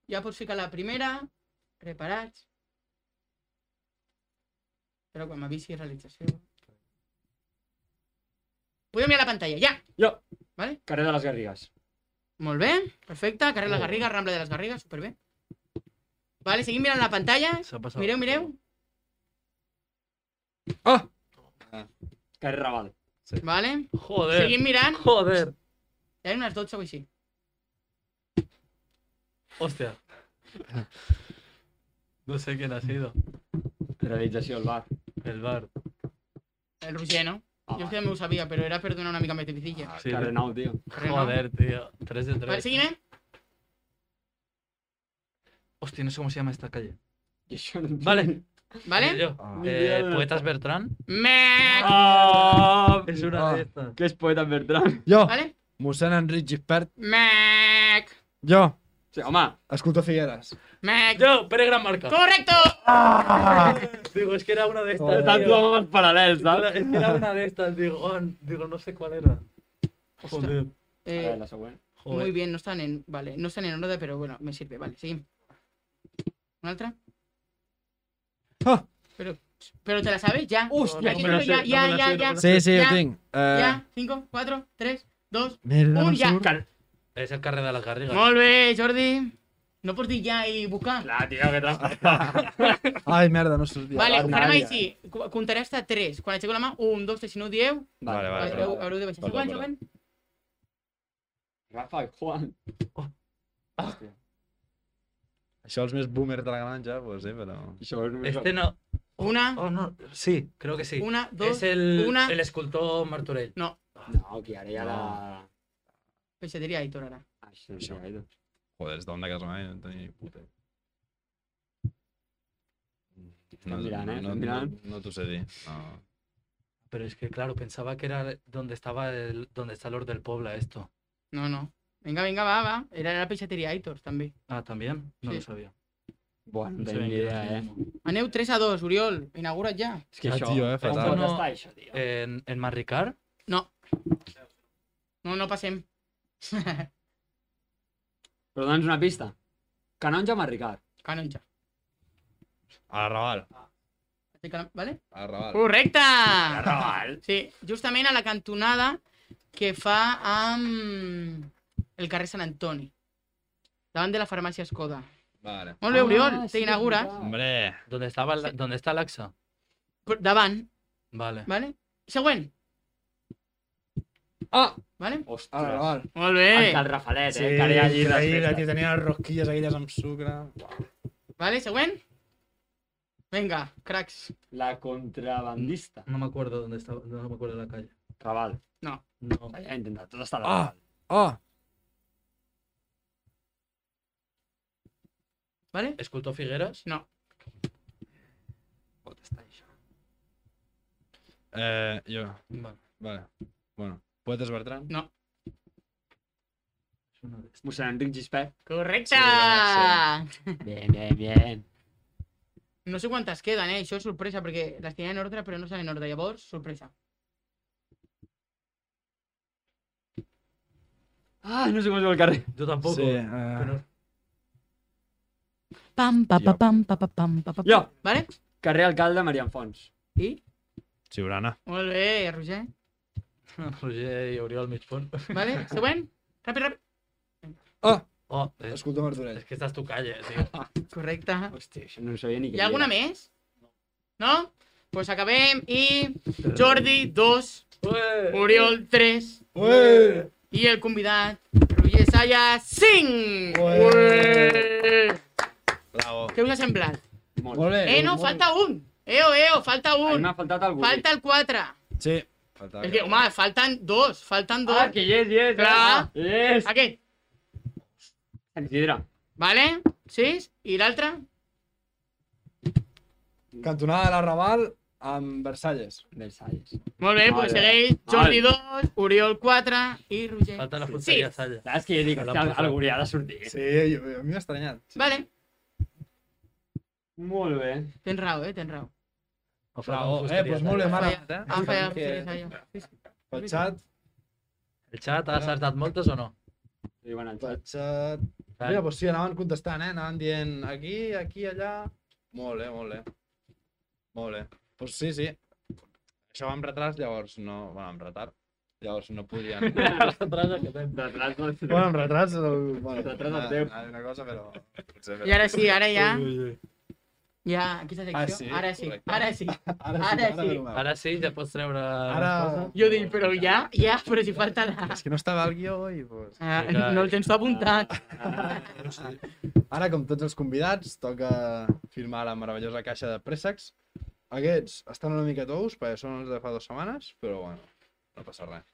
Ja pots ficar la primera. Preparats. Però quan m'avisi realització... Podeu mirar la pantalla, ja!
Jo.
Vale?
Carrer de les Garrigues.
Molt bé, perfecte. Carrer de les Garrigues, Rambla de les Garrigues, superbé. Vale, seguim mirant la pantalla.
S'ha passat.
Mireu, mireu.
Carrer Raval.
Vale.
Joder,
Seguim mirant.
joder.
Hi ha unes 12 o així.
Hostia. No sé quién ha sido.
Realització al bar.
El bar.
El Roger, no?
Ah,
Jo és que també ho sabia, però era per donar una mica més de vidilla.
Sí,
Carrer Nou, tio.
Carrer Nou.
joder, tío. 3 de 3.
Vale, seguim, eh?
Hostia, no sé cómo se llama esta calle.
I això no...
Vale.
Vale?
Yo,
Ah.
eh, Poetas Bertrán.
Mec!
Ah,
Es una
Ah.
de estas.
que és poeta en Bertran.
Jo,
Vale?
mossèn Enric Gispert.
Mec!
Jo,
Sí, home,
escultor Figueres.
Mec!
Yo, Pere Gran Marca.
Correcto! Ah.
Digo, es que era una de estas.
Joder.
estan
tío.
dues homes paral·lels,
Era-
saps?
Es que era una de estas. Digo, oh, digo, no sé cuál era. Joder.
A veure,
Eh,
la següent.
joder.
muy bien, no están en... Vale, no están en orden, pero bueno, me sirve. Vale, seguim. Una altra?
Ah.
Pero, pero te la sabes ya.
Hòstia,
Aquí
no me la
no, ja,
sé,
ja,
no me la
ja,
sé, no
ja.
me la sé.
Sí, sí,
Ja.
ho tinc. Eh,
Ya, 5, 4, 3, 2...
Merda,
Un
no
ja.
surt.
Es el carrer de las garrigas.
Molt bé, Jordi. No pots dir ja i buscar.
Clar, tio, que trampa.
Ai, merda, no sortia.
Vale, ho
la
farem
Nàdia.
així. Cu- Comptaré hasta 3. Quan aixeco la mà, 1, 2, 3, si no ho dieu,
Vale, vale,
vale,
però-
heu- haureu de baixar.
perdó,
Següent,
perdó.
següent.
Rafa i Juan.
Això els més boomers de la granja, pues, eh, però...
Això és només...
Este no.
Una.
Oh, no. Sí, creo que sí.
Una, dos...
Es el,
una.
el escultor Martorell.
No,
No, que ara ja la... Ah,
peixateria Aitor ara.
Això, això, això.
Joder, és d'on de casa meva, no tenia ni puta.
Estan mirant, eh?
No,
Estan
no,
mirant.
no t'ho sé dir. No.
Pero es que, claro, pensaba que era donde estaba el, donde está Lord del Pobla esto.
No, no. Vinga, vinga, va, va. Era la peixateria Aitor, també.
Ah, también. No
Sí.
lo sabía.
Bueno,
No
no tenim
sabía
ni
que
idea,
era
eh?
lo mismo.
Aneu 3 a 2, Oriol. Inaugura't ja.
És que
Ah,
això...
tio, eh, fatal.
Com
No.
està això, tio?
¿eh? En, en Marricar,
No. No, no passem.
Però dóna'ns una pista. Canonja Marricard.
Canonja.
A la Raval.
Estic calam- Vale?
A la Raval.
Correcte!
Raval.
Sí, justament a la cantonada que fa amb el carrer Sant Antoni. Davant de la farmàcia Escoda.
Vale.
Molt bé,
Ah,
Oriol, t'inaugura.
Hombre.
donde estaba la- donde está Laxa.
Davant,
Vale.
vale? Següent,
Ah!
vale?
Ostres.
A la Raval.
Molt
Anca
bé.
el Rafalet, eh? Que ara hi ha allí les
increïble, tio,
festes.
tenia les rosquilles aquelles amb sucre.
Vale, següent. Vinga, cracs.
La contrabandista.
No me acuerdo dónde estaba, no me acuerdo la calle.
Raval.
No.
Ja he intentat, tot està a la
Ah!
Raval.
Oh!
Vale?
Escultor Figueras.
No.
Pot estar això.
Eh, jo.
Vale.
Vale. Bueno. Poetes Bertran?
es uno de estos.
Mossèn Enric Gispert.
Correcte!
Bien, bien, bien.
No sé quantes queden, eh? Això és sorpresa, perquè les tenia en ordre, però no estan en ordre. Llavors, sorpresa.
Ah, no sé com es diu el carrer.
Yo tampoco.
Sí, eh,
pero-
Pam, pa, pa,
Jo.
pam, pa, pa, pam, pa, pa, pam.
Jo.
Vale?
Carrer Alcalde Marian Fons.
I?
Siurana.
Molt bé, Roger.
Roger y Oriol Michpon.
Vale? Següent? Ràpid, ràpid.
Oh, es,
Escultor Martorell.
es que esta es tu calle, tío.
Correcte.
Hòstia, això no ho sabia ni
Hi
que
ha alguna més? No? Doncs pues acabem i Jordi 2, Oriol 3
Ué!
i el convidat Roger Saya 5!
Ué!
Ué!
Bravo.
Què us ha semblat?
Molt.
Molt bé.
Eh, no, falta un! Eo, eo, falta
A mi
un!
m'ha faltat algú.
Falta el 4.
Sí. Faltava
És que, home, falten dos, falten dos.
Ah, que hi és, hi és.
Clar.
eh? Hi és.
Aquest,
Sant Isidre.
vale? 6 i l'altre?
Cantonada de la Raval amb Versalles.
Versalles.
Molt bé,
Molt
doncs
bé.
segueix pues Jordi 2, Oriol 4 i Roger
Falta la frutería
6.
Salla.
Saps que jo dic,
Se l'ha
hòstia,
posat.
algú hi ha de sortir.
Sí, jo, jo, a mi m'ha estranyat.
Vale,
Molt bé.
tens raó, eh, tens raó.
O falta
Bravo, eh,
fustería
doncs molt bé,
Salla.
m'ha
Falla.
agradat, eh?
Ah, falla,
Que-
falla, falla.
Pel xat,
El xat ha acertat moltes o no?
Diuen al xat.
Chat... Mira, pues sí, anaven contestant, eh? Anaven dient aquí, aquí, allà... Molt bé, molt bé. Molt bé. Pues sí, sí. Això va amb retard, llavors no... Bueno, amb retard. Llavors no podien...
Detrás del...
bueno, amb retards... El... Bueno,
Retard del
una-
teu.
Una cosa, però... Potser,
I ara sí, ara ja,
Ara
ja, aquesta secció,
Ah, sí?
ara sí,
Correcte.
ara sí.
Ara,
ara sí.
veurem.
sí, ja pots treure...
Ara...
Jo dic, però ja, ja, però si falta la...
És que no estava al guió i... Pues...
Ah,
Sí, clar.
no el tens tu apuntat.
Ara, com tots els convidats, toca firmar la meravellosa caixa de préssecs. Aquests estan una mica tous, perquè són els de fa dues setmanes, però bueno, no passa res.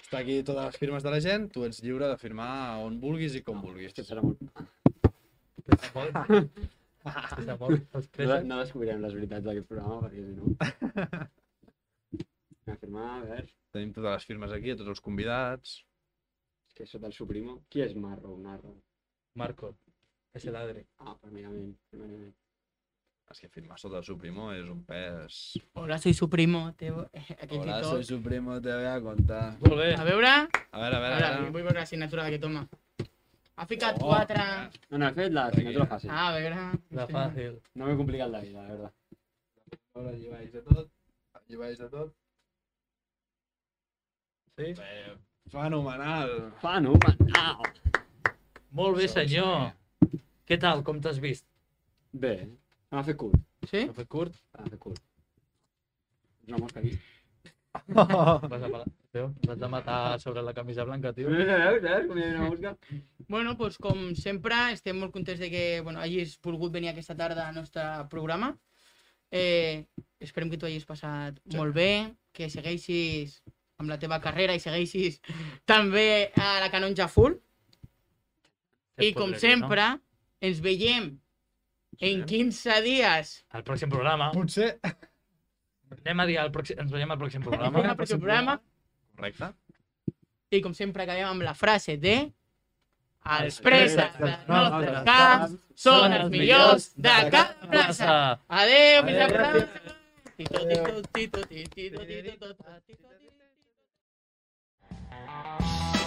Està aquí totes les firmes de la gent, tu ets lliure de firmar on vulguis i com vulguis.
Hòstia, serà molt... No,
Després,
no descobrirem les veritats d'aquest programa, perquè si no... Anem a firmar, a veure...
Tenim totes les firmes aquí, tots els convidats.
És que sota el suprimo... Qui és Marro? Narro?
Marco, és el Adri.
Ah, primerament, primerament.
És que firmar sota el suprimo és un pes...
Hola, soy su primo, te... eh, Aquest i
Hola, soy
tot.
suprimo, te voy a contar.
Molt bé.
A veure,
A veure, a veure,
ara,
a veure.
vull veure l'assignatura que toma. Ha ficat
Oh.
quatre...
No, no, he fet la signatura fàcil.
Ah, A veure...
La fàcil.
No m'he complicat la vida, la veritat.
Hola, lleváis de tot. Lleváis de tot.
Sí?
Bé, fenomenal.
Fenomenal!
Molt bé, senyor. Què tal? Com t'has vist?
Bé, m'ha fet curt,
Sí?
T'ha fet curt?
m'ha fet curt. És una mosca aquí.
Vas a, Déu, vas a matar sobre la camisa blanca, tio.
Veus, veus, com hi havia una mosca?
Bueno, doncs com sempre, estem molt contents de que bueno, hagis volgut venir aquesta tarda al nostre programa. Eh, esperem que t'ho hagis passat sí. molt bé, que segueixis amb la teva carrera i segueixis també a la Canonja Full. I com sempre, ens veiem en 15 dies
Al pròxim programa.
Potser...
Anem a dir al pròxim... Ens veiem al pròxim
en
programa.
el pròxim programa
Correcte.
i com sempre acabem amb la frase de els
Els
preses
preses
dels
dels
nostres
nostres
caps
caps
són els millors de cada plaça. Adéu, fins la pròxima. Tito, tito, tito, tito, tito, tito, tito, tito, tito.